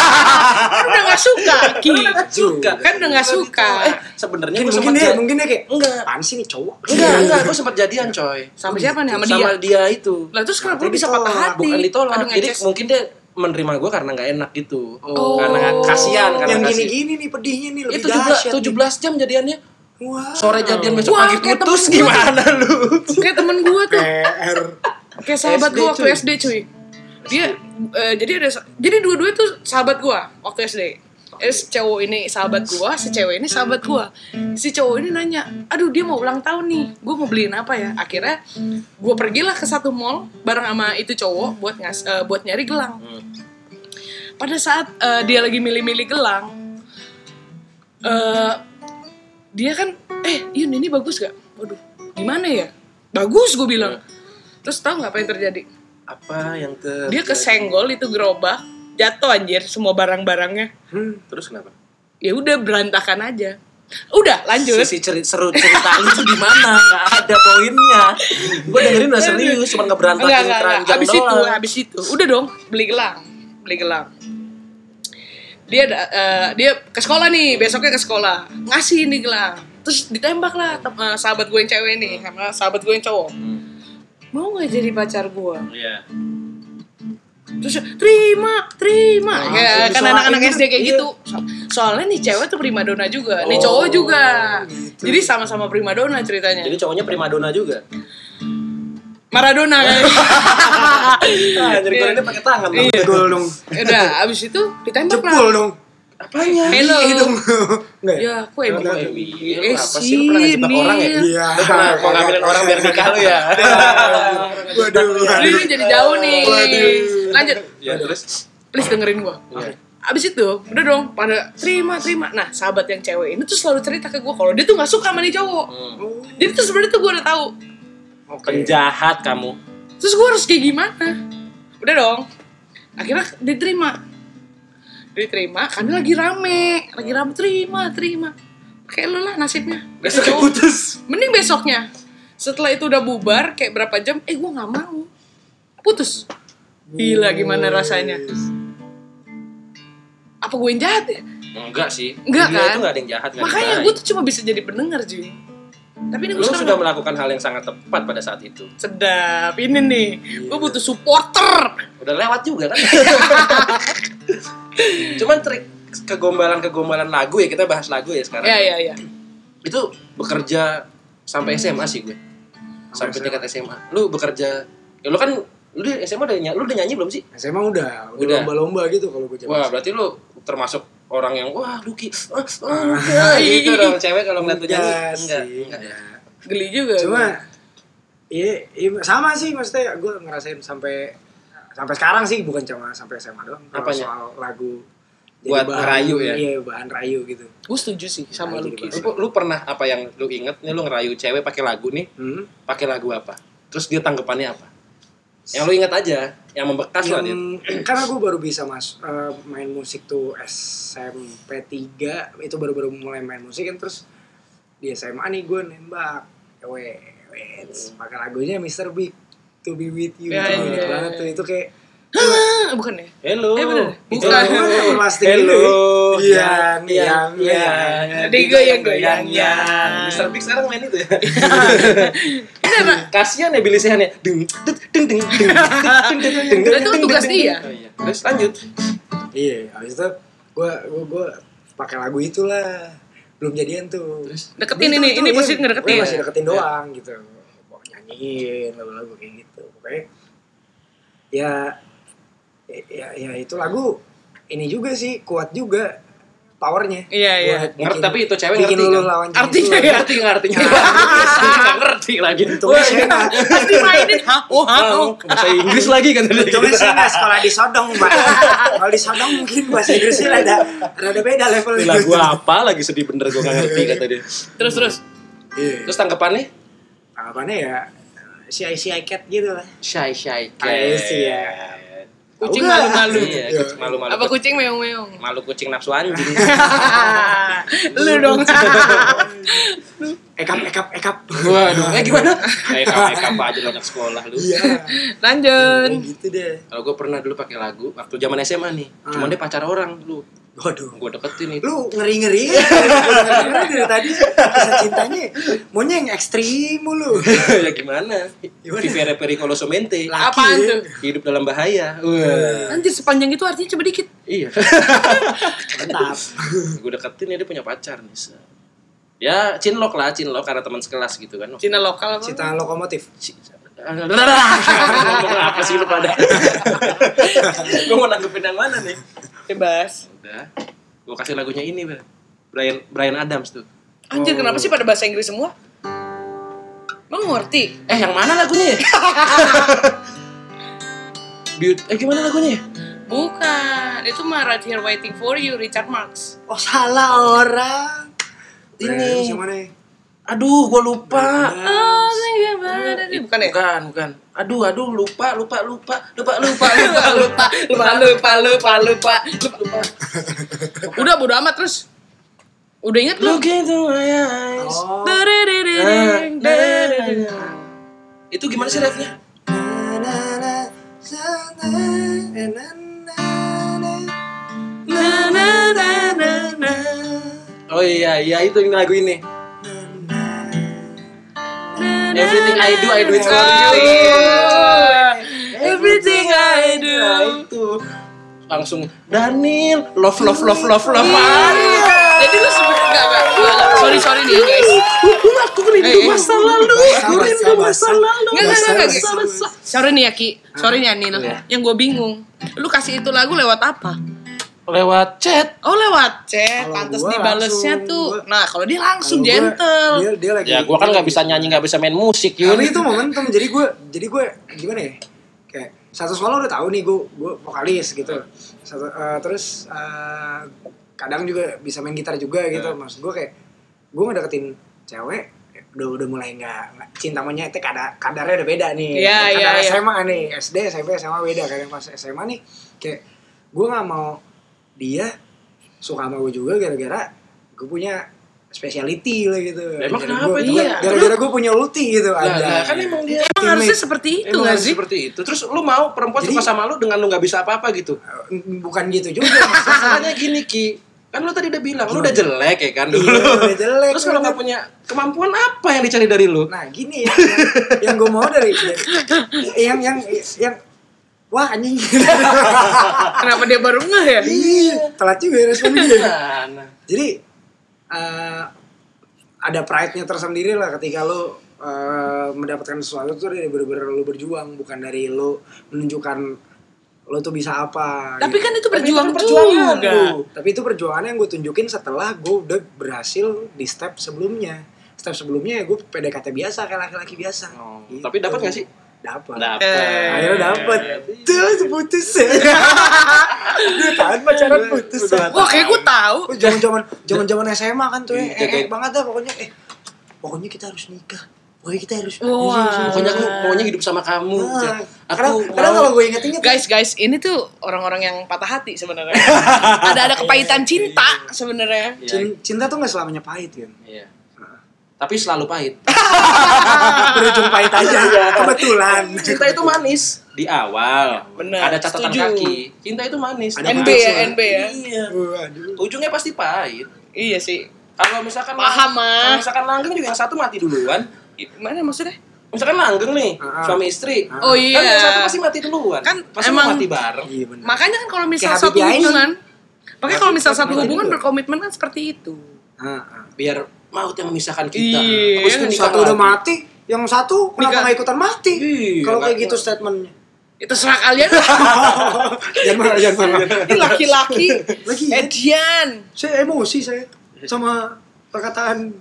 kan udah gak suka, Ki. Suka. Kan udah gak suka. Eh, sebenarnya Mungkin, gua mungkin sempat dia, ja- mungkin dia kayak, enggak. apaan sih nih cowok? Enggak, enggak, gua sempat jadian, coy. Sama siapa nih? Sama dia. Sama dia itu. Lah terus kenapa lu Jadi bisa patah ditolak, hati? Bukan ditolak. Aduh, Jadi ngeces. mungkin dia menerima gue karena nggak enak gitu. Oh. Karena kasihan karena Yang kasih. gini-gini nih pedihnya nih lebih Itu juga dahsyat 17 nih. jam jadiannya. Wah. Ah. Sore jadian besok Wah, pagi kayak putus temen gua gimana lu? kayak temen gue tuh PR. kayak sahabat SD, gue waktu cuy. SD cuy dia eh, jadi ada sa- jadi dua-dua tuh sahabat gue waktu SD Eh, si cowok ini sahabat gue, si cewek ini sahabat gue. Si cowok ini nanya, aduh dia mau ulang tahun nih, gue mau beliin apa ya? Akhirnya gue pergilah ke satu mall bareng sama itu cowok buat ngas, eh, buat nyari gelang. Pada saat eh, dia lagi milih-milih gelang, eh dia kan eh Yun ini bagus gak? Waduh gimana ya? Bagus gue bilang. Terus tau nggak apa yang terjadi? apa yang ter Dia kesenggol itu gerobak, jatuh anjir semua barang-barangnya. Hmm. terus kenapa Ya udah berantakan aja. Udah lanjut. sisi cerita seru cerita lu tuh di mana nggak ada poinnya gue dengerin udah serius cuma Enggak, ngeberantakin enggak, enggak. keranjang Abis itu, doang abis itu. Udah dong, beli gelang. Beli gelang. Dia da- eh, dia ke sekolah nih, besoknya ke sekolah. Ngasih nih gelang. Terus ditembak lah tem- eh, sahabat gue yang cewek nih sama sahabat gue yang cowok. Hmm. Mau gak jadi pacar gue? Iya. terus terima terima Nah, ya langsung kan disalahin anak-anak gitu. SD kayak Iya. gitu So- soalnya nih cewek tuh primadona juga Oh, nih gitu. cowok juga jadi sama-sama primadona ceritanya jadi cowoknya primadona juga Maradona kan ah jadi Iya. gorengannya pakai tangan dong. Jebol dong. Ya udah abis itu ditembak Jebol lah dong. apanya hello Enggak ya? ya aku Lu emang Eh, Iya, apa sih lu pernah ngejebak sini. orang ya Iya. lu pernah mau ngambilin orang biar nikah lu ya Waduh. Aduh, waduh. ini jadi jauh nih Waduh. lanjut ya terus please dengerin gua Iya. Abis itu, udah dong, pada terima, terima. Nah, sahabat yang cewek ini tuh selalu cerita ke gua kalau dia tuh nggak suka sama nih cowok. Hmm. Oh, Jadi tuh sebenarnya tuh gua udah tahu Oke. penjahat kamu Terus gue harus kayak gimana? Udah dong. Akhirnya diterima. Diterima karena lagi rame. Lagi rame, terima, terima. Kayak lu lah nasibnya. besok Itu. putus Mending besoknya. Setelah itu udah bubar, kayak berapa jam, eh gue gak mau. Putus. Gila gimana rasanya. Apa gue yang jahat ya? enggak sih Enggak, Dia kan? itu enggak ada yang jahat nggak ada yang Makanya baik. gue tuh cuma bisa jadi pendengar, Ji. Tapi ini gue lu sudah sekarang melakukan hal yang sangat tepat pada saat itu sedap. Ini nih, gue Iya. butuh supporter. udah lewat juga kan cuman trik kegombalan kegombalan lagu ya kita bahas lagu ya sekarang Ya, ya, ya. itu bekerja sampai SMA sih gue sampai Sampai tingkat SMA lu bekerja ya lu kan lu di SMA udah nyanyi, lu udah nyanyi belum sih SMA udah, udah Udah. lomba-lomba gitu kalau gue zaman wah berarti lu termasuk orang yang wah Lucky ah, ah, Lucky ah, gitu dong cewek kalau ngeliat lu nyanyi enggak Enggak Iya sih, enggak ya. enggak. Geli juga. Cuma iya, iya, sama sih maksudnya gue ngerasain sampai sampai sekarang sih bukan cuma sampai SMA doang. Kalau Apanya? soal lagu Buat ngerayu ya? Iya, bahan rayu gitu. gue setuju sih sama Nah, lu, jadi Ki. lu, lu pernah apa yang lu inget nih lu ngerayu cewek pakai lagu nih Hmm. pakai lagu apa terus dia tanggapannya apa yang lu inget aja yang membekas lah dia Yang- karena gue baru bisa mas eh, main musik tuh SMP 3 itu baru-baru mulai main musik kan terus di SMA nih gue nembak cewek wets, pakai lagunya Mr. Big to be with you Ya, Itu iya, inget iya. banget tuh itu kayak Ah, bukan ya? Hello. Eh, bener. Itu Bukan. lagu kan yang plastik Hello. itu. ya. Iya, Yang, iya, yang, iya. yang. Digoyang-goyang. Mr. Big sekarang main itu ya. Bener, Pak. Kasihan ya Billy Sehan ya. Deng, deng, deng, deng, deng, deng, deng, deng, deng, Itu kan deng, tugas deng, dia. deng. Oh, iya. Terus lanjut. iya habis itu gue gue gue pakai lagu itulah belum jadian tuh Terus? Deketin Itu- ini, itu, ini iya. musik ngedeketin. Iya, masih deketin Iya. doang gitu mau nyanyiin lagu-lagu kayak gitu pokoknya ya ya ya itu lagu ini juga sih kuat juga powernya. Iya, iya. Buat Ngerti, bikin- tapi itu cewek bikin ngerti, lu kan? lawan jenis Artinya lu. ya. ngerti nggak artinya nggak ngerti lagi Untungnya saya nggak. Pasti mainin hah, oh, hah, oh. Oh, bahasa Inggris lagi kan tadi Untungnya saya nggak sekolah di Sodong, Mbak. Kalau di Sodong mungkin bahasa Inggrisnya rada rada beda Ini levelnya. lagu apa lagi sedih bener gue gak ngerti kata dia Terus terus. Iya. terus tanggapannya Anggapannya ya si si cat gitu lah. shy shy Ay, cat sih, ya. Kucing Tahu nggak? malu-malu. iya Iya. kucing malu malu Apa kucing meong-meong? malu kucing nafsu anjing Lu dong. Ekap ekap ekap. waduh eh gimana eh kamu kamu aja lo anak sekolah lu Iya. Lanjut. Kayak gitu deh. kalau gue pernah dulu pakai lagu waktu zaman SMA nih cuman dia pacar orang dulu Waduh. gue deketin itu Ah. lu ngeri ngeri dari tadi kisah cintanya maunya yang ekstrim mulu ya gimana Gimana? Vivere pericoloso mente Apaan Laki, ya. tuh? hidup dalam bahaya Wah. Anjir sepanjang itu artinya coba dikit. iya mantap gue deketin ya dia punya pacar nih Sa. ya cinlok lah cinlok karena teman sekelas gitu kan Cina lokal apa? cita lokomotif C- Ngomong apa sih lu pada gue mau nanggepin yang mana nih Bebas. udah gue kasih lagunya ini Bel. Brian Brian Adams tuh Anjir kenapa sih pada bahasa Inggris semua? Emang ngerti? eh yang mana lagunya ya? Beaut- eh gimana lagunya ya? Bukan, itu mah Right Here Waiting For You, Richard Marx. oh salah orang Ini. yang mana ya? aduh gue lupa Oh, my God. bukan ya? bukan bukan aduh aduh lupa lupa lupa lupa lupa lupa lupa lupa, lupa, lupa, lupa, lupa. Udah bodo amat terus. Udah inget lu? look into my eyes oh Dadadadadang, dadadadadang. itu gimana sih refnya na, na, na, na, na, na, na. Na, na, na, na, na. oh iya iya itu yang lagu ini Na, na, Everything I do, I do it for na, you. na. Everything I do. itu langsung Daniel love love love love love Maria. Jadi lu sebenernya enggak, enggak, enggak, enggak. Sorry, sorry nih ya, guys. aku rindu Eh, eh. Iya. masa lalu aku Sabar, rindu sabar, masa sabar. lalu Enggak, enggak, enggak, Masa- enggak. masa- Sorry Iya. nih Yaki, sorry nih Anil. Yang gue bingung, lu kasih itu lagu lewat apa? lewat chat Oh lewat chat, Kalau pantas gua dibalesnya langsung, tuh. gua- Nah kalau dia langsung Kalau gua, gentle. dia, dia lagi ya gua kan nggak bisa nyanyi nggak bisa main musik yun tapi itu momentum jadi gue jadi gue gimana ya kayak satu sekolah udah tahu nih gue gue vokalis gitu satu, eh, terus eh, kadang juga bisa main gitar juga gitu maksud gue kayak gue ngedeketin cewek udah udah mulai nggak nggak- cinta monyet kadar kadarnya udah beda nih Iya, kadar iya, iya. SMA nih SD SMP SMA beda kadang pas SMA nih kayak gue nggak mau dia suka sama gue juga gara-gara gue punya speciality lah gitu emang kenapa Gara-gara gua- itu? gara- gara-gara gue punya ulti gitu Nah, aja nah, kan emang dia Emang harusnya seperti itu emang nggak harus sih? seperti itu terus lu mau perempuan Jadi- suka sama lu dengan lu nggak bisa apa-apa gitu bukan gitu juga maksudnya. masalahnya gini ki kan lu tadi udah bilang lu udah jelek ya kan dulu Iya, udah jelek, terus kalau nggak bener. punya kemampuan apa yang dicari dari lu nah gini ya yang, gue mau dari dari- yang yang yang wah anjing Kenapa dia baru ngeh ya? Iya. Iya. Ih, telat juga ya respon dia Nah, nah. jadi eh, ada pride-nya tersendiri lah ketika lo eh, mendapatkan sesuatu tuh dari bener-bener lo berjuang bukan dari lo menunjukkan lo tuh bisa apa Tapi gitu. kan itu berjuang Tapi itu kan perjuangan juga. lu. Tapi itu perjuangan yang gue tunjukin setelah gue udah berhasil di step sebelumnya. Step sebelumnya ya gue PDKT biasa kayak laki-laki biasa. Gitu. Oh, tapi dapat nggak sih? Iya, Dapat. Dapat. Akhirnya dapat. Terus putus. Dia tahan Iya, pacaran putus. Wah kayak gue tahu. Oh, Zaman-zaman zaman-zaman SMA kan tuh ya. Iya, Eh, eh, kayak- banget dah pokoknya eh pokoknya kita harus nikah. Pokoknya kita harus. Iya, Wah. Pokoknya aku maunya hidup sama kamu. Nah, Aku Ah, iya. Karena, karena mau- kalau gue inget-inget Guys, guys, ini tuh orang-orang yang patah hati sebenarnya. ada ada kepahitan cinta sebenarnya. Iya, cin- cinta tuh gak selamanya pahit kan. Iya. Tapi selalu pahit. Berujung pahit aja. Iya. Kebetulan. Cinta itu manis di awal. Benar, Ada catatan setuju. kaki. Cinta itu manis. Ada NB maksud. ya, NB ya. Iya. Waduh. Ujungnya pasti pahit. Iya sih. Kalau misalkan Paham, ah. Kalau misalkan langgeng juga yang satu mati duluan. Gimana maksudnya? Misalkan langgeng nih, Ah. suami istri. Ah. Oh Kan yang satu iya. pasti mati duluan. Kan pasti emang- mati bareng. Iya benar. Makanya kan kalau misal Kayak satu Habibie Ainun. hubungan, makanya kalau misal satu Habibie hubungan Ainun. berkomitmen kan seperti itu. Ah, ah. Biar maut yang memisahkan kita. Iya, Habis itu yang nikah satu udah lagi. mati, yang satu kenapa Nikah. nggak ikutan mati? kan? Iya, Kalau kayak nggak- gitu statementnya. Ya, terserah kalian. jangan marah, jangan marah. Iya. Ini laki-laki. Eh, Lagi, Edian. saya emosi saya sama perkataan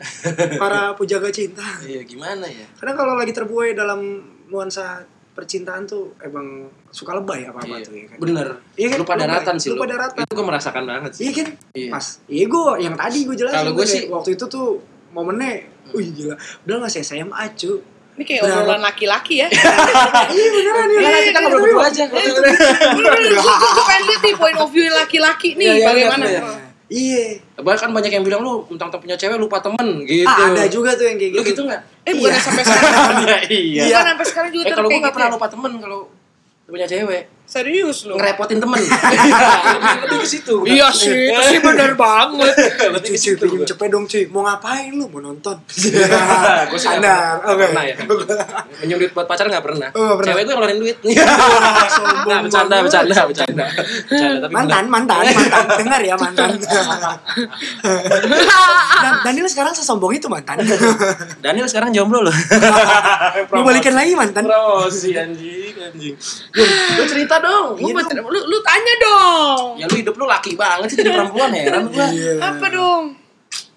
para pejaga cinta. Iya gimana ya? Karena kalau lagi terbuai dalam nuansa percintaan tuh emang suka lebay apa-apa Iya. tuh ya kan. Bener. Iya kan? Lupa daratan sih lu. Lupa daratan. Itu gue merasakan banget sih. Iya kan? Iya. Pas. Iya gue yang tadi gue jelasin. Kalau gua kayak sih- waktu itu tuh momennya Wih gila, udah gak saya SMA cu Ini kayak obrolan laki-laki ya. Iya beneran ya Karena kita ngobrol berdua aja. kalau Iya, kita- Bener-bener, gue gue pengen lihat nih point of view laki-laki Iya, nih iya, bagaimana. iya, Iya Bahkan kan banyak yang bilang lu mentang-mentang punya cewek lupa temen gitu. Ah, Ada juga tuh yang kayak Lu gitu nggak? Eh bukan Iya. sampai sekarang. iya. Bukan sampai sekarang juga Eh tetap kalau gue nggak kayak gitu. ya. pernah lupa temen kalau punya cewek Serius lu. ngerepotin temen. Lebih- Lebih ke situ. Iya sih, Eh. itu sih bener banget. Lebih ke Cuy, cuy, situ. pinjem gua. cepet dong cuy Mau ngapain lu? Mau nonton? Gua sih Standar nggak Oke pernah ya. Minjem duit buat pacar nggak pernah. Oh, nggak pernah. Cewek gue ngeluarin duit. Sombong Nah, bercanda, banget. bercanda, bercanda. Bercanda tapi Mantan, mantan, mantan Dengar ya mantan Dan, Daniel sekarang sesombong itu mantan bener. Daniel sekarang jomblo loh. Mau balikan lagi mantan Promosi anjing, anjing. Lu cerita dong. Lu, Iya buat- Oh, lu, lu tanya dong. Ya lu hidup lu laki banget sih jadi perempuan heran gua. Apa dong?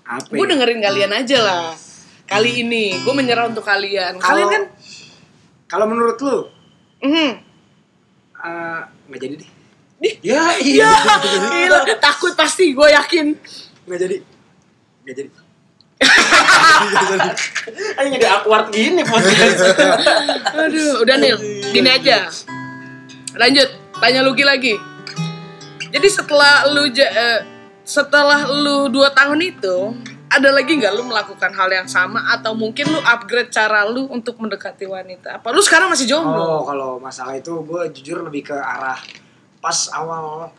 Apa Gue ya? dengerin kalian aja lah. Kali ini gue menyerah untuk kalian. Kalian Kalau- kan Kalau menurut lu Mhm. eh, Nggak jadi deh Ya Ya, iya. gila. takut pasti gue yakin. Nggak jadi Nggak jadi Anjing ada awkward gini podcast. Aduh, udah Nil, gini aja. Lanjut, tanya Lucky lagi. Jadi setelah lu ja- eh, setelah lu 2 tahun itu, ada lagi nggak lu melakukan hal yang sama atau mungkin lu upgrade cara lu untuk mendekati wanita? Apa lu sekarang masih jomblo? Oh, kalau masalah itu gue jujur lebih ke arah pas awal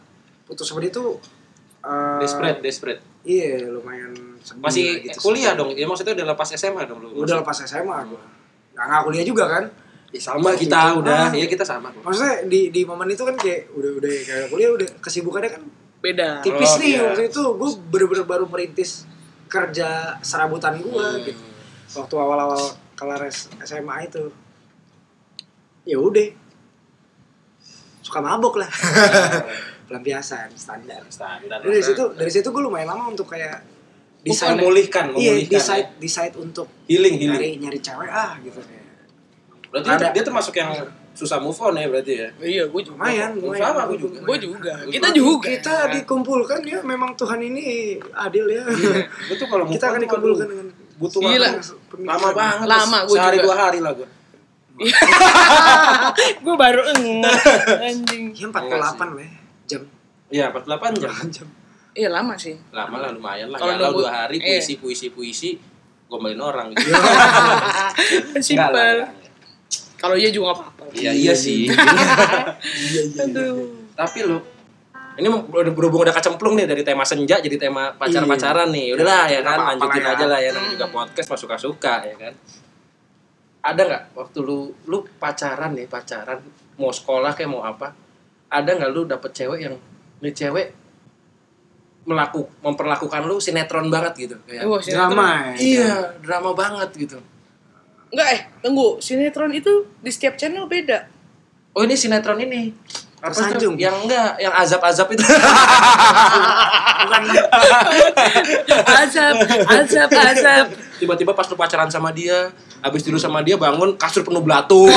putus sama dia tuh eh, Desperate, desperate. Iya, lumayan sedih lah Masih gitu. kuliah dong. Ya maksudnya udah lepas SMA dong lu. Udah lepas SMA gue. Nah, nggak kuliah juga kan? Ya, sama kita udah. Ah. Ya kita sama. kok. Maksudnya di di momen itu kan kayak udah udah kayak kuliah udah kesibukannya kan Beda. tipis Oh, nih iya. waktu itu gue bener-bener baru merintis kerja serabutan gue Hmm. gitu waktu awal-awal kelar S- SMA itu ya udah suka mabok lah pelampiasan standar Standar. dari situ dari situ gue lumayan lama untuk kayak Desain decide memulihkan, iya memulihkan. decide decide untuk Healing, healing. nyari nyari cewek ah gitu Berarti Ada. dia termasuk yang susah move on ya berarti ya. Iya, gue juga. lumayan lumayan Sama gue juga. Gue juga. Gua Kita juga. juga. kita dikumpulkan ya memang Tuhan ini adil ya Gue tuh kalau move kita on tuh, akan aduh, dikumpulkan dengan Iya. Iya, butuh Gila. waktu lama banget. Lama, gua Sehari juga. dua hari lah gue. gue baru eng anjing. Ya, 48 lah ya. Jam. Iya, 48 jam. jam. Iya lama sih. Lama lah lumayan lah. Kalau Kalau nunggu- dua hari iya. puisi puisi puisi gomelin orang gitu. Enggak lah, Kan Simpel. enggak. Kalau iya juga nggak apa-apa. Iya iya sih. Iya, iya. Aduh. Tapi lo ini udah- berhubung udah kacemplung nih dari tema senja jadi tema pacar-pacaran nih. Udahlah ya kan Iya. Apa-apa lanjutin lah ya. aja lah ya namanya juga podcast masuk suka ya kan. Ada nggak waktu lu lu pacaran nih pacaran mau sekolah kayak mau apa? Ada nggak lu dapet cewek yang nih cewek melaku memperlakukan lu sinetron banget gitu kayak Wah, Drama ya. iya drama banget gitu Enggak eh, tunggu. Sinetron itu di setiap channel beda. oh ini sinetron ini apa tuh Tersanjung. yang enggak yang azab-azab itu Azab, azab, azab. tiba-tiba pas lu pacaran sama dia habis tidur sama dia bangun kasur penuh belatung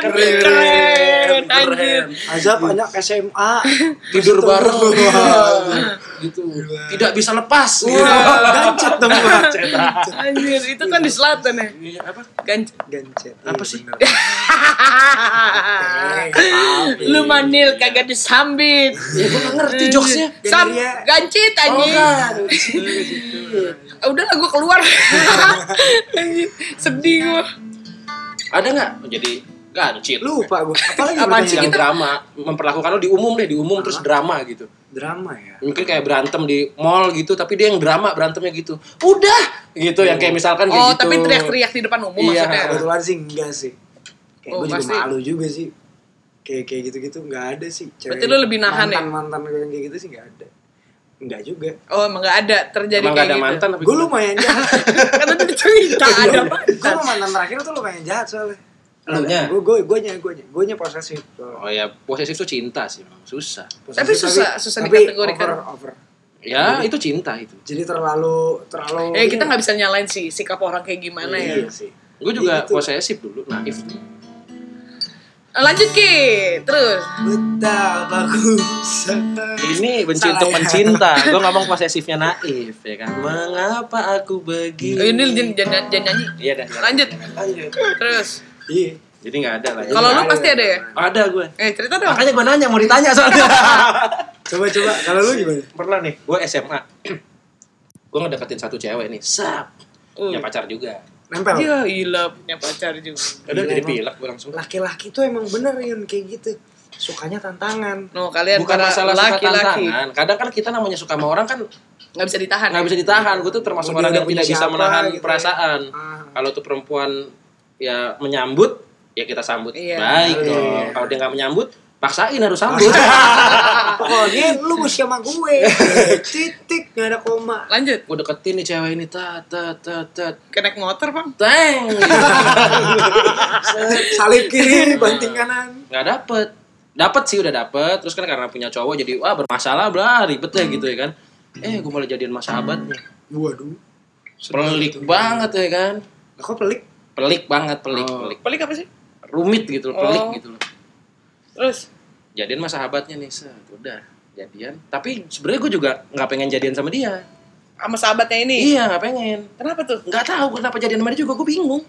Keren, keren, Keren, anjir. keren. Azab anak SMA. tidur Terus bareng itu- gitu tidak bisa lepas gitu. Wah, gancet dong gua. Anjir, itu kan di selatan ya. Iya, apa Ganj. Gancet. Iya, Apa sih? Ah, Lu manil kagak disambit. ya gue gak ngerti jokesnya Oh, Sam, Gandaria. gancit anjing. Udah lah gue keluar. Anjing, Sedih gue. ada nggak jadi gancit Lupa gue. Apalagi Apaan sih yang gitu? pertanyaan? kita? drama memperlakukan lu di umum deh di umum terus drama gitu Drama ya. Iya. mungkin kayak berantem di mall gitu tapi dia yang drama berantemnya gitu udah gitu yang kayak misalkan kayak Oh, gitu tapi teriak-teriak di depan umum Iya. maksudnya. Kebetulan sih enggak sih. Kayak Oh, gue juga pasti. malu juga sih. Kayak kayak gitu-gitu enggak ada sih. Cewek Berarti lu lebih nahan ya? Mantan-mantan gue yang kayak gitu sih enggak ada. Enggak juga. Oh, emang gak ada terjadi emang kayak gak ada gitu. mantan Iya. tapi Gue lumayan jahat. Kan tadi cerita ada Gue mantan. sama mantan terakhir tuh lumayan jahat soalnya. Elunya? gue gue gue nya gue nya gue nya posesif tuh. Oh ya, posesif itu cinta sih, memang susah. Posesif, Tapi susah- susah tapi dikategorikan. over, over. Ya, itu cinta itu. jadi terlalu terlalu Eh kita nggak bisa nyalain sih sikap orang kayak gimana ya. iya sih Gue juga Gitu. posesif dulu, naif. Iya. Lanjut Ki, terus. betapa ku sangat Ini benci Salah untuk ya. pencinta. Gue ngomong posesifnya naif ya kan. Mengapa aku begini? Oh, ini jangan jangan- jangan nyanyi. Iya dah. Lanjut, Eh, lanjut terus. iya Jadi nggak ada lah. Ya. Kalau lu Ada, pasti ada ya? ada gue. Eh cerita dong. Makanya gue nanya mau ditanya soalnya. coba coba kalau lu gimana Pernah nih, gue SMA. gue ngedeketin satu cewek nih, sap. Uh, Hmm. Punya pacar juga. nempel Dia Iya, gila punya pacar juga. Udah Gila, jadi emang. pilek gue langsung. laki-laki tuh emang bener Yun kayak gitu sukanya tantangan No kalian Bukan para masalah suka laki-laki tantangan. Kadang kan kita namanya suka sama orang kan nggak bisa ditahan. nggak bisa ditahan. Gue tuh termasuk Mau dia orang udah yang tidak punya bisa siapa menahan gitu ya. perasaan. ah, Kalau tuh perempuan ya menyambut, ya kita sambut Iya. baik Iya. dong. Kalau dia nggak menyambut, paksain harus sambut. Ah. pokoknya lu mesti sama gue titik nggak ada koma Lanjut. gue deketin nih cewek ini, tat, tat, tat, tat. Kenek motor bang. Teng! gitu. Set, salib kiri banting kanan Nggak dapet. Dapet sih udah dapet, terus kan karena punya cowok jadi wah bermasalah bla ribet ya gitu ya kan. Eh gue malah jadian sama sahabatnya. waduh Pelik banget ya kan. Lah, kok pelik Pelik banget, pelik, Oh. pelik. Pelik apa sih? Rumit gitu, loh, pelik Oh. gitu loh. Terus. jadian sama sahabatnya nih set udah jadian tapi sebenarnya gue juga nggak pengen jadian sama dia Sama sahabatnya ini. iya nggak pengen Kenapa tuh? nggak tahu kenapa jadian sama dia juga gue bingung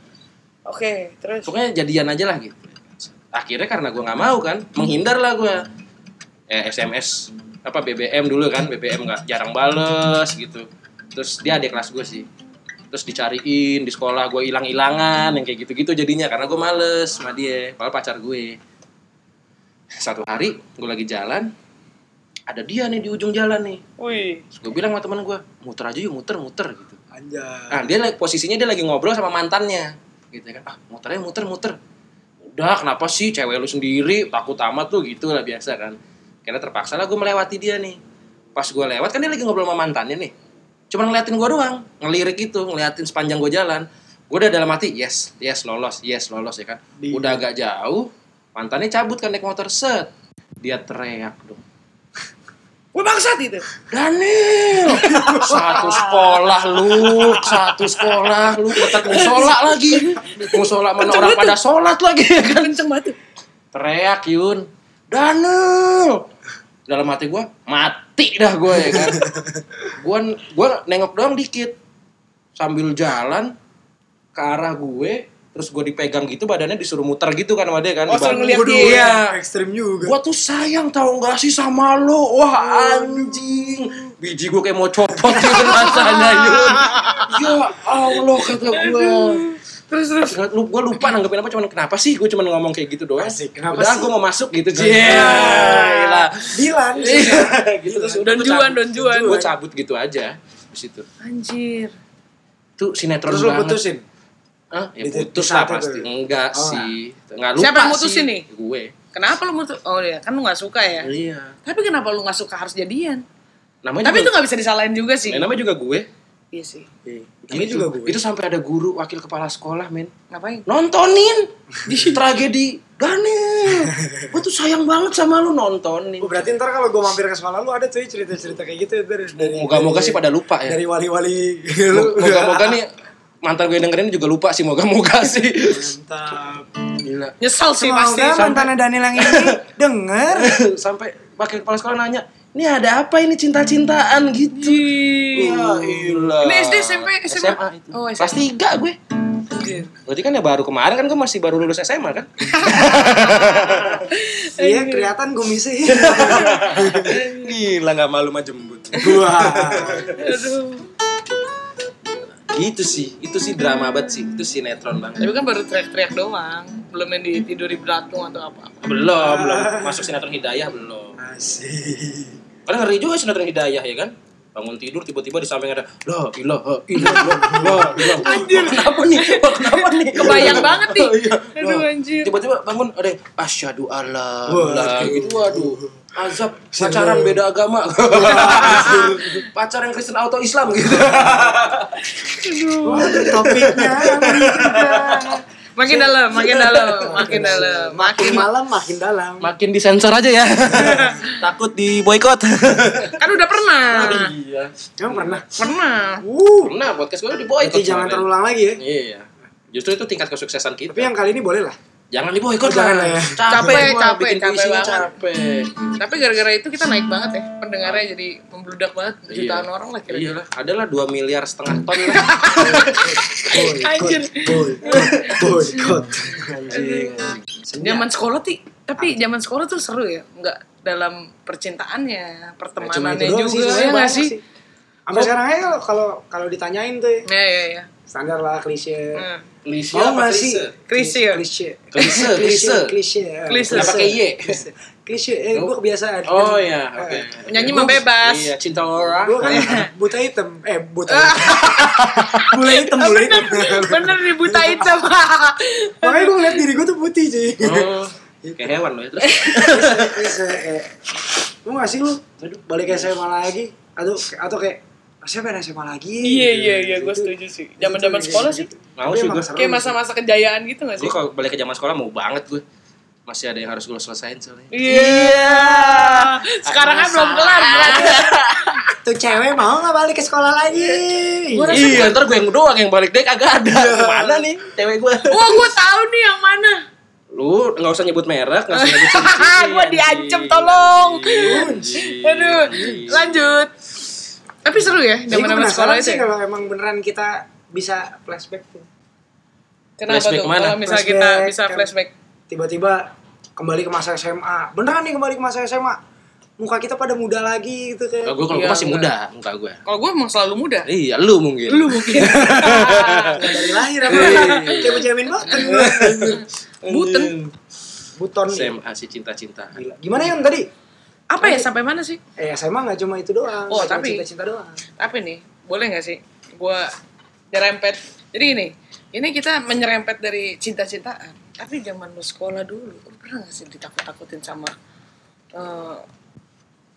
Oke, terus. pokoknya jadian aja lah gitu akhirnya karena gue nggak mau kan menghindar lah gue eh, sms apa bbm dulu kan bbm nggak jarang bales gitu terus dia ada kelas gue sih terus dicariin di sekolah gue hilang hilangan yang kayak gitu gitu jadinya karena gue males sama dia padahal pacar gue satu hari gue lagi jalan ada dia nih di ujung jalan nih Wih. terus gue bilang sama temen gue muter aja yuk muter muter gitu anjay Nah, dia lagi- posisinya dia lagi ngobrol sama mantannya. Gitu kan. Ah, muternya muter-muter. Udah, kenapa sih cewek lu sendiri takut amat tuh gitu lah biasa kan. Karena terpaksa lah gue melewati dia nih. Pas gue lewat kan dia lagi ngobrol sama mantannya nih. Cuma ngeliatin gue doang, ngelirik gitu, ngeliatin sepanjang gue jalan. Gue udah dalam hati, yes, yes lolos, yes lolos ya kan. Di- Udah agak jauh, mantannya cabut kan naik motor set. Dia teriak dong. Wah bangsat itu. Daniel, satu sekolah lu, satu sekolah lu, tetap musola lagi, musola mana orang pada sholat lagi ya kan? Kenceng banget. tuh. Teriak Yun, Daniel, dalam hati gua mati dah gua ya kan? Gua gua nengok doang dikit, sambil jalan ke arah gue, terus gua dipegang gitu badannya disuruh muter gitu kan sama dia kan? Oh, Dibantu. suruh ngeliat Waduh, dia. Iya. ekstrim juga Gua tuh sayang tau gak sih sama lo Wah anjing Biji gua kayak mau copot gitu rasanya Yun Ya Allah kata gua Terus terus. Nggak, lu- Gua lupa nanggepin apa cuman kenapa sih Gua cuman ngomong kayak gitu doang Asik, kenapa Udah sih? gua mau masuk gitu Iya gila. Dilan Iya, gitu terus kan. udah gua Donjuan, cabut. donjuan. Gua cabut gitu aja Di situ Anjir. Tuh sinetron terus lu banget putusin Hah? Ya Di- di putus lah saat itu. pasti Enggak Oh, sih Enggak lupa Siapa yang mutusin sih. nih? Gue Kenapa lu mutu? Oh ya, kan lu nggak suka ya. Iya Tapi kenapa lu nggak suka harus jadian? Namanya Tapi itu juga, nggak bisa disalahin juga sih. Ya, namanya juga gue Iya sih. ini Gitu. juga gue Itu sampai ada guru wakil kepala sekolah, men. Ngapain? Nontonin di tragedi Daniel. Gue tuh sayang banget sama lu nontonin. Oh, berarti ntar kalau gue mampir ke sekolah lu ada tuh cerita-cerita kayak gitu dari dari Moga-moga dari- sih pada lupa ya. dari wali-wali Mo- lu Moga-moga nih mantan gue dengerin juga lupa sih moga-moga sih. mantap Gila. Nyesel sih pasti. semoga mantannya Daniel yang ini denger sampai wakil kepala sekolah nanya, "Ini ada apa ini cinta-cintaan gitu?" Iya. Ya, ilah. Ini SD, SMP, SMA? SMA itu. Oh, SMA. Kelas 3 gue. Anjir. Berarti kan ya baru kemarin kan gue masih baru lulus SMA kan? iya kelihatan kumisnya Gila nggak malu mah jembut. wah Aduh. gitu sih itu sih drama banget sih itu sinetron banget Tapi kan baru teriak-teriak doang. Belum yang ditidurin belatung atau apa. belum belum masuk sinetron hidayah belum asik karena ngeri juga sinetron hidayah ya kan bangun tidur tiba-tiba di samping ada oh, la ilaha illallah la ilaha anjir kenapa nih Wah, kenapa nih Kebayang banget nih. Iya. Aduh, Wah. anjir. tiba-tiba bangun ada yang asyhadu alla Waduh. ilaha gitu waduh azab pacaran beda agama pacaran Kristen atau Islam gitu Waduh, topiknya Amerika. Makin dalam, makin dalam, makin dalam, makin Makin malam makin dalam. Makin disensor aja ya. Takut di boykot. kan udah pernah. iya. Emang pernah. Pernah. Wuh. Pernah podcast gue Berarti diboykot. jangan soalnya. terulang lagi ya. Iya. Justru itu tingkat kesuksesan kita. Tapi yang kali ini boleh lah. Jangan diboykot Oh, jangan lah ya. Capek, gua capek, bikin capek puisinya, banget. Capek. Tapi gara-gara itu kita naik banget ya pendengarnya jadi membludak banget jutaan orang lah Iya kira-kira. lah, adalah 2 miliar setengah ton lah. Anjir. Boykot. Zaman sekolah ti, tapi zaman sekolah tuh seru ya, nggak dalam percintaannya, pertemanannya juga, ya sebenarnya nggak banyak sih? Sampai sekarang aja kalau kalau ditanyain tuh ya, Ya ya ya. standar lah klise. Hmm. Klise Mau apa nggak sih? klise? Klise. ya? Klise. Klise, klise. Klise. Klise. Klise. Nggak pakai Y. Klise. Klise. Eh, gue kebiasaan. Oh iya, oke. Nyanyi mah bebas. Iya, cinta orang. Gue Eh, kan buta hitam. Eh, buta hitam. bule hitam, bule hitam. Ah. Bener nih buta hitam. Makanya gue ngeliat diri gue tuh putih, cuy. Oh, Gitu. kayak hewan loh ya. Terus, Klise. eh. Lu nggak sih lu? Balik SMA lagi? Atau, atau kayak, saya pengen SMA lagi. Gitu. Iya iya iya, gue setuju sih. Zaman-zaman sekolah sih, mau sih gue. kayak masa-masa kejayaan gitu nggak Gue sih? kalau balik ke zaman sekolah mau banget gue. Masih ada yang harus gue selesain soalnya. Iya. Sekarang kan belum kelar berarti. Tuh cewek mau nggak balik ke sekolah lagi? Iya, ntar gue yang doang yang balik deh kagak ada. Iya. Kemana nih cewek gue? Wah, gue tahu nih yang mana. Lu nggak usah nyebut merek, nggak usah nyebut Hahaha, gue diancam tolong. Iya. Aduh, lanjut. Tapi seru ya Jadi gue zaman-zaman sekolah penasaran itu. sih ya? kalau emang beneran kita bisa flashback tuh. Kenapa Flashback tuh? mana? Kalau misalnya kita Flashback, bisa kan. flashback. Tiba-tiba kembali ke masa SMA. Beneran nih kembali ke masa SMA. Muka kita pada muda lagi gitu kayak. gue kalau gue Iya, masih enggak. muda muka gue. Kalau gue emang selalu muda. Iya, lu mungkin. Lu mungkin. Dari lahir apa? Kayak menjamin banget. Buten. Iya. Buton. nih. SMA si cinta-cinta. Gila. Gimana yang tadi? Apa ya sampai mana sih? Eh SMA nggak cuma itu doang. Oh, Nggak cuma tapi- cinta-cinta doang. Tapi nih, boleh nggak sih? Gue nyerempet. Jadi gini, ini kita menyerempet dari cinta-cintaan. Tapi zaman lu sekolah dulu, lu pernah nggak sih ditakut-takutin sama eh,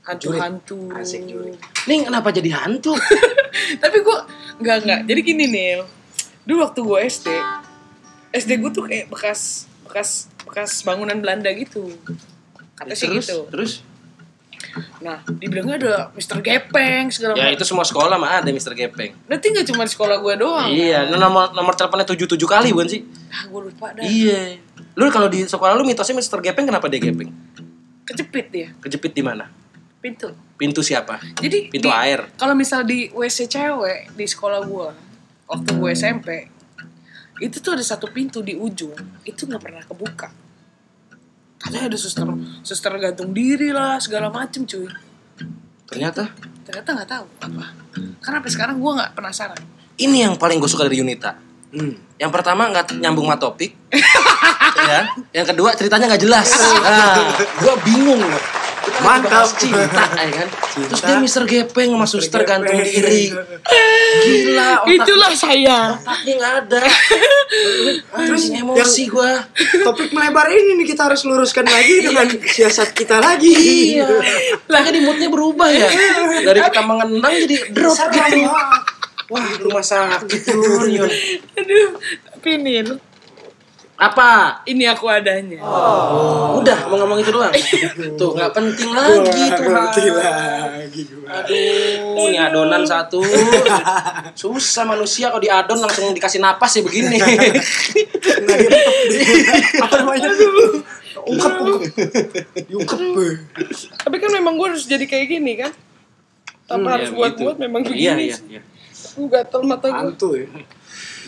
hantu-hantu? Jurik. Asik, jurik. Nih kenapa jadi hantu? tapi gue nggak nggak jadi gini Nil dulu waktu gue SD SD gue tuh kayak bekas bekas bekas bangunan Belanda gitu kata sih terus, gitu terus. nah dibilangnya ada Mister Gepeng segala Ya macam itu semua sekolah mah ada Mister Gepeng. berarti nggak cuma di sekolah gue doang Iya, lu nomor nomor teleponnya 77 kali bukan sih? ah gue lupa dah Iya. Lu kalau di sekolah lu mitosnya Mister Gepeng kenapa dia gepeng? kejepit dia Kejepit di mana? pintu Pintu siapa? jadi Pintu di- air. kalau misal di WC cewek di sekolah gue waktu gue SMP itu tuh ada satu pintu di ujung itu nggak pernah kebuka katanya ada suster suster gantung diri lah segala macem cuy Ternyata ternyata nggak tahu apa karena sampai sekarang gue nggak penasaran ini yang paling gue suka dari Yunita. Hmm. Yang pertama nggak nyambung sama topik, ya. Yang kedua ceritanya nggak jelas. Nah, gue bingung loh. Kita lagi Mantap. bahas cinta, ya kan? Terus dia Mister Gepeng sama suster gantung diri. Gila, otak itulah saya otaknya nggak ada. Terus emosi gue. Topik melebar ini nih kita harus luruskan lagi Iya. dengan siasat kita lagi. Iya. Lagi di moodnya berubah ya. Dari kita mengenang jadi drop gitu. Serem. Wah. Wah, rumah sakit lu, Yun. aduh tapi Nil Apa? ini aku adanya Udah, mau ngomong itu doang. Tuh, nggak penting lagi tuh. Ngerti lagi gua. Aduh, ini adonan satu. Susah manusia kalau diadon langsung dikasih napas ya begini. Iya, Nah, dia tetep di- apa namanya? Ungkep, ungkep. Diungkep. tapi kan memang gue harus jadi kayak gini kan tanpa harus Ya, buat-buat gitu. memang begini Iya, iya, iya. Gua gatel mata gue Hantu ya.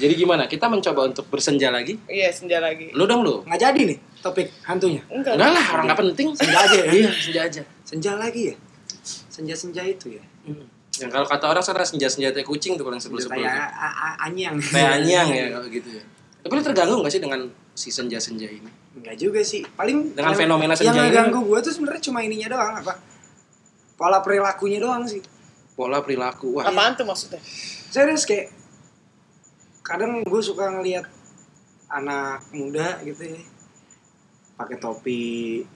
Jadi gimana? Kita mencoba untuk bersenja lagi. iya senja lagi Lu dong lu. Nggak jadi nih topik hantunya. enggak Enggak lah, orang nggak penting. Senja aja ya. Iya, senja aja. Senja lagi ya. Senja-senja itu ya. Hmm. Yang kalau kata orang sekarang senja-senja teh kucing tuh kalau yang Senja sebelum-sebelum. tai tuh. a- a- a- anyang. Teh anyang ya kalau gitu ya. Tapi lu terganggu gak sih dengan si senja-senja ini? Enggak juga sih. Paling Dengan yang- fenomena senja Yang ini. ganggu gue tuh sebenarnya cuma ininya doang apa? Pola perilakunya doang sih. Pola perilaku. Wah, apaan tuh maksudnya Serius kayak kadang gue suka ngelihat anak muda gitu ya pakai topi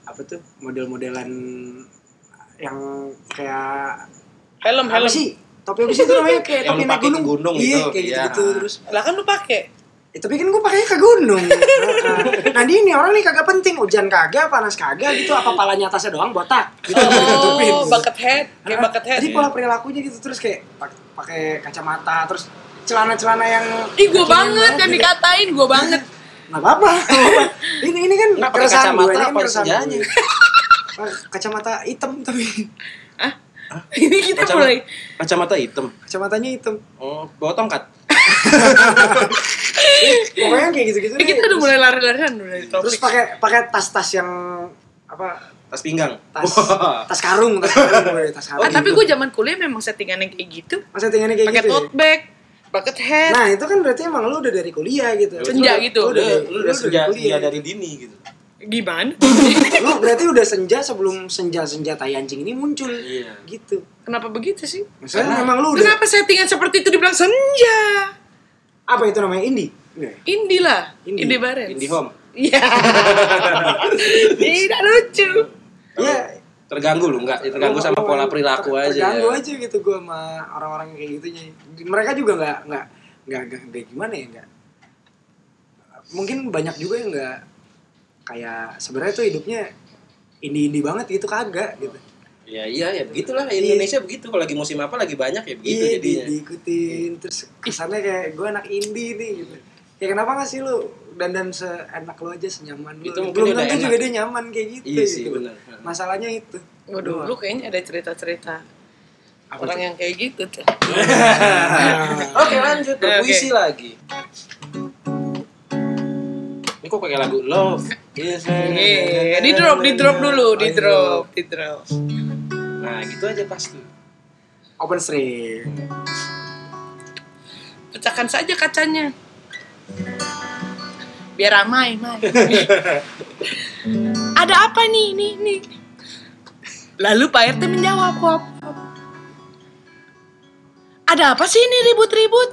apa tuh model-modelan yang kayak helm apa helm sih topi apa sih itu namanya kayak Yang topi lu naik pakai ke gunung, gunung iya gitu. kayak Iya. gitu, terus lah kan lu pakai Eh, tapi kan gue pakainya ke gunung. Heeh. nah dia ini orang nih kagak penting, hujan kagak, panas kagak gitu, apa palanya atasnya doang botak. Gitu ditutupin. Oh, bucket head, kayak Heeh. bucket head. Ah, Iya. Jadi pola perilakunya gitu terus kayak pak- pakai kacamata, terus celana-celana yang Ih, gue banget yang kan dikatain, gue banget. Nggak apa-apa. nggak apa-apa. ini ini kan Nggak pakai keresahan kacamata gue, ini kan apa keresahan senjanya? gue. Ah, kacamata hitam tapi Ah, Ah, Ini kita Kacamata. mulai. Kacamata hitam. kacamatanya hitam. Oh, bawa tongkat. Pokoknya kayak gitu-gitu. Ini deh. Eh, kita udah mulai lari-larian udah dari Terus topik. pakai pakai tas-tas yang apa Tas pinggang. tas Wah. tas karung tas karung gue, tas Ah, karung. tapi gitu. gue zaman kuliah memang settingannya kayak gitu. Masa tinggalnya kayak Pakai Oh, gitu. ya? tote bag, bucket head. Nah itu kan berarti emang lu udah dari kuliah gitu. Senja Lu- gitu. Lu udah, Udah, dari- lu udah senja, senja kuliah. dari dini gitu. Gimana? Lu berarti udah senja sebelum senja-senja tai anjing ini muncul. Iya. Gitu. Kenapa begitu sih? Maksudnya Karena- memang lu udah Kenapa settingan seperti itu dibilang senja? apa itu namanya indie? Iya. Indi lah, Indi. Indi Barens. Indie home. Iya. Tidak lucu. Iya. Terganggu lu enggak? Terganggu sama Lu- pola lu- perilaku ter- aja. Terganggu ya. aja gitu gua sama orang-orang yang kayak gitunya. Mereka juga nggak nggak nggak nggak nggak gimana ya nggak. Mungkin banyak juga yang nggak kayak sebenarnya tuh hidupnya indie-indie banget gitu kagak gitu. Ya iya ya begitulah Indonesia begitu kalau lagi musim apa lagi banyak ya begitu iya, di, jadinya. diikutin terus kesannya kayak gue anak indie nih gitu ya kenapa gak sih lu dandan seenak lu aja senyaman lu Itu mungkin belum udah tentu enak. juga dia nyaman kayak gitu Iya sih, gitu. benar. masalahnya itu Waduh, lu kayaknya ada cerita-cerita Apa orang tuh? yang kayak gitu tuh. Oke lanjut Eh, Oke, berpuisi lagi. Ini kok pakai lagu Love is Iya, di drop, di drop dulu, di drop, di drop. Nah gitu aja pasti. open string Pecahkan saja kacanya. Biar ramai, Mai. ada apa nih, nih, nih? Lalu Pak RT menjawab, Wap. Ada apa sih ini ribut-ribut?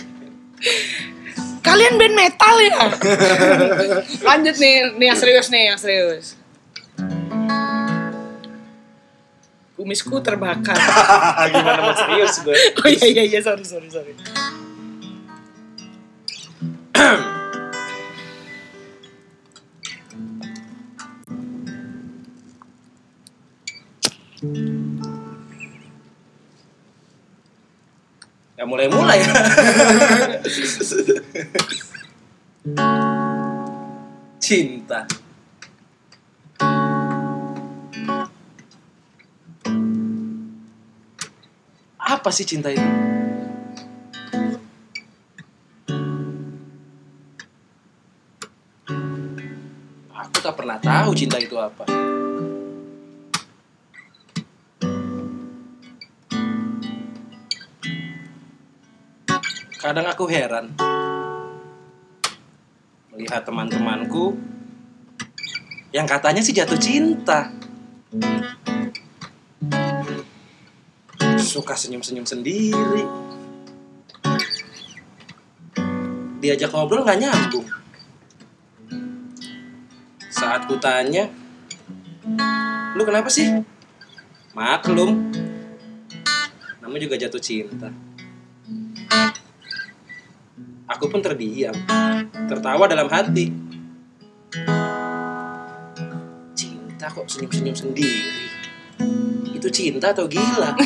Kalian band metal ya? Lanjut nih, nih yang serius nih, yang serius. Kumisku terbakar. Gimana mau serius gue? Oh iya iya iya sorry sorry sorry. Ya mulai mulai. Cinta. Apa sih cinta itu? Aku tak pernah tahu cinta itu apa. Kadang aku heran melihat teman-temanku yang katanya sih jatuh cinta. Suka senyum-senyum sendiri. Diajak ngobrol nggak nyambung. Saat ku tanya, lu kenapa sih? Maklum, namun juga jatuh cinta. Aku pun terdiam, tertawa dalam hati. Cinta kok senyum-senyum sendiri. Itu cinta atau gila?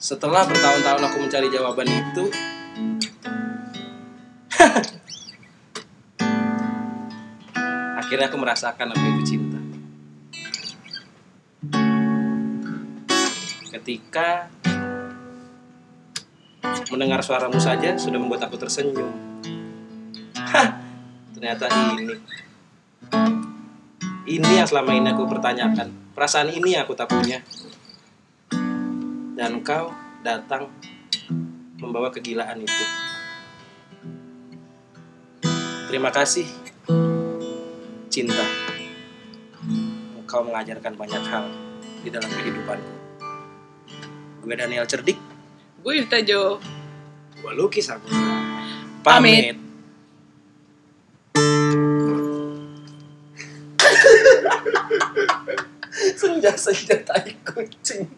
Setelah bertahun-tahun aku mencari jawaban itu, akhirnya aku merasakan apa itu cinta. ketika mendengar suaramu saja sudah membuat aku tersenyum. Hah, ternyata ini. Ini yang selama ini aku pertanyakan. Perasaan ini yang aku tak punya. Dan kau datang membawa kegilaan itu. Terima kasih, cinta. Engkau mengajarkan banyak hal di dalam kehidupanku. Gue Daniel Cerdik, Gue Irta Jo. gue lukis aku pamit. Pamit. Senja-senja tai kucing.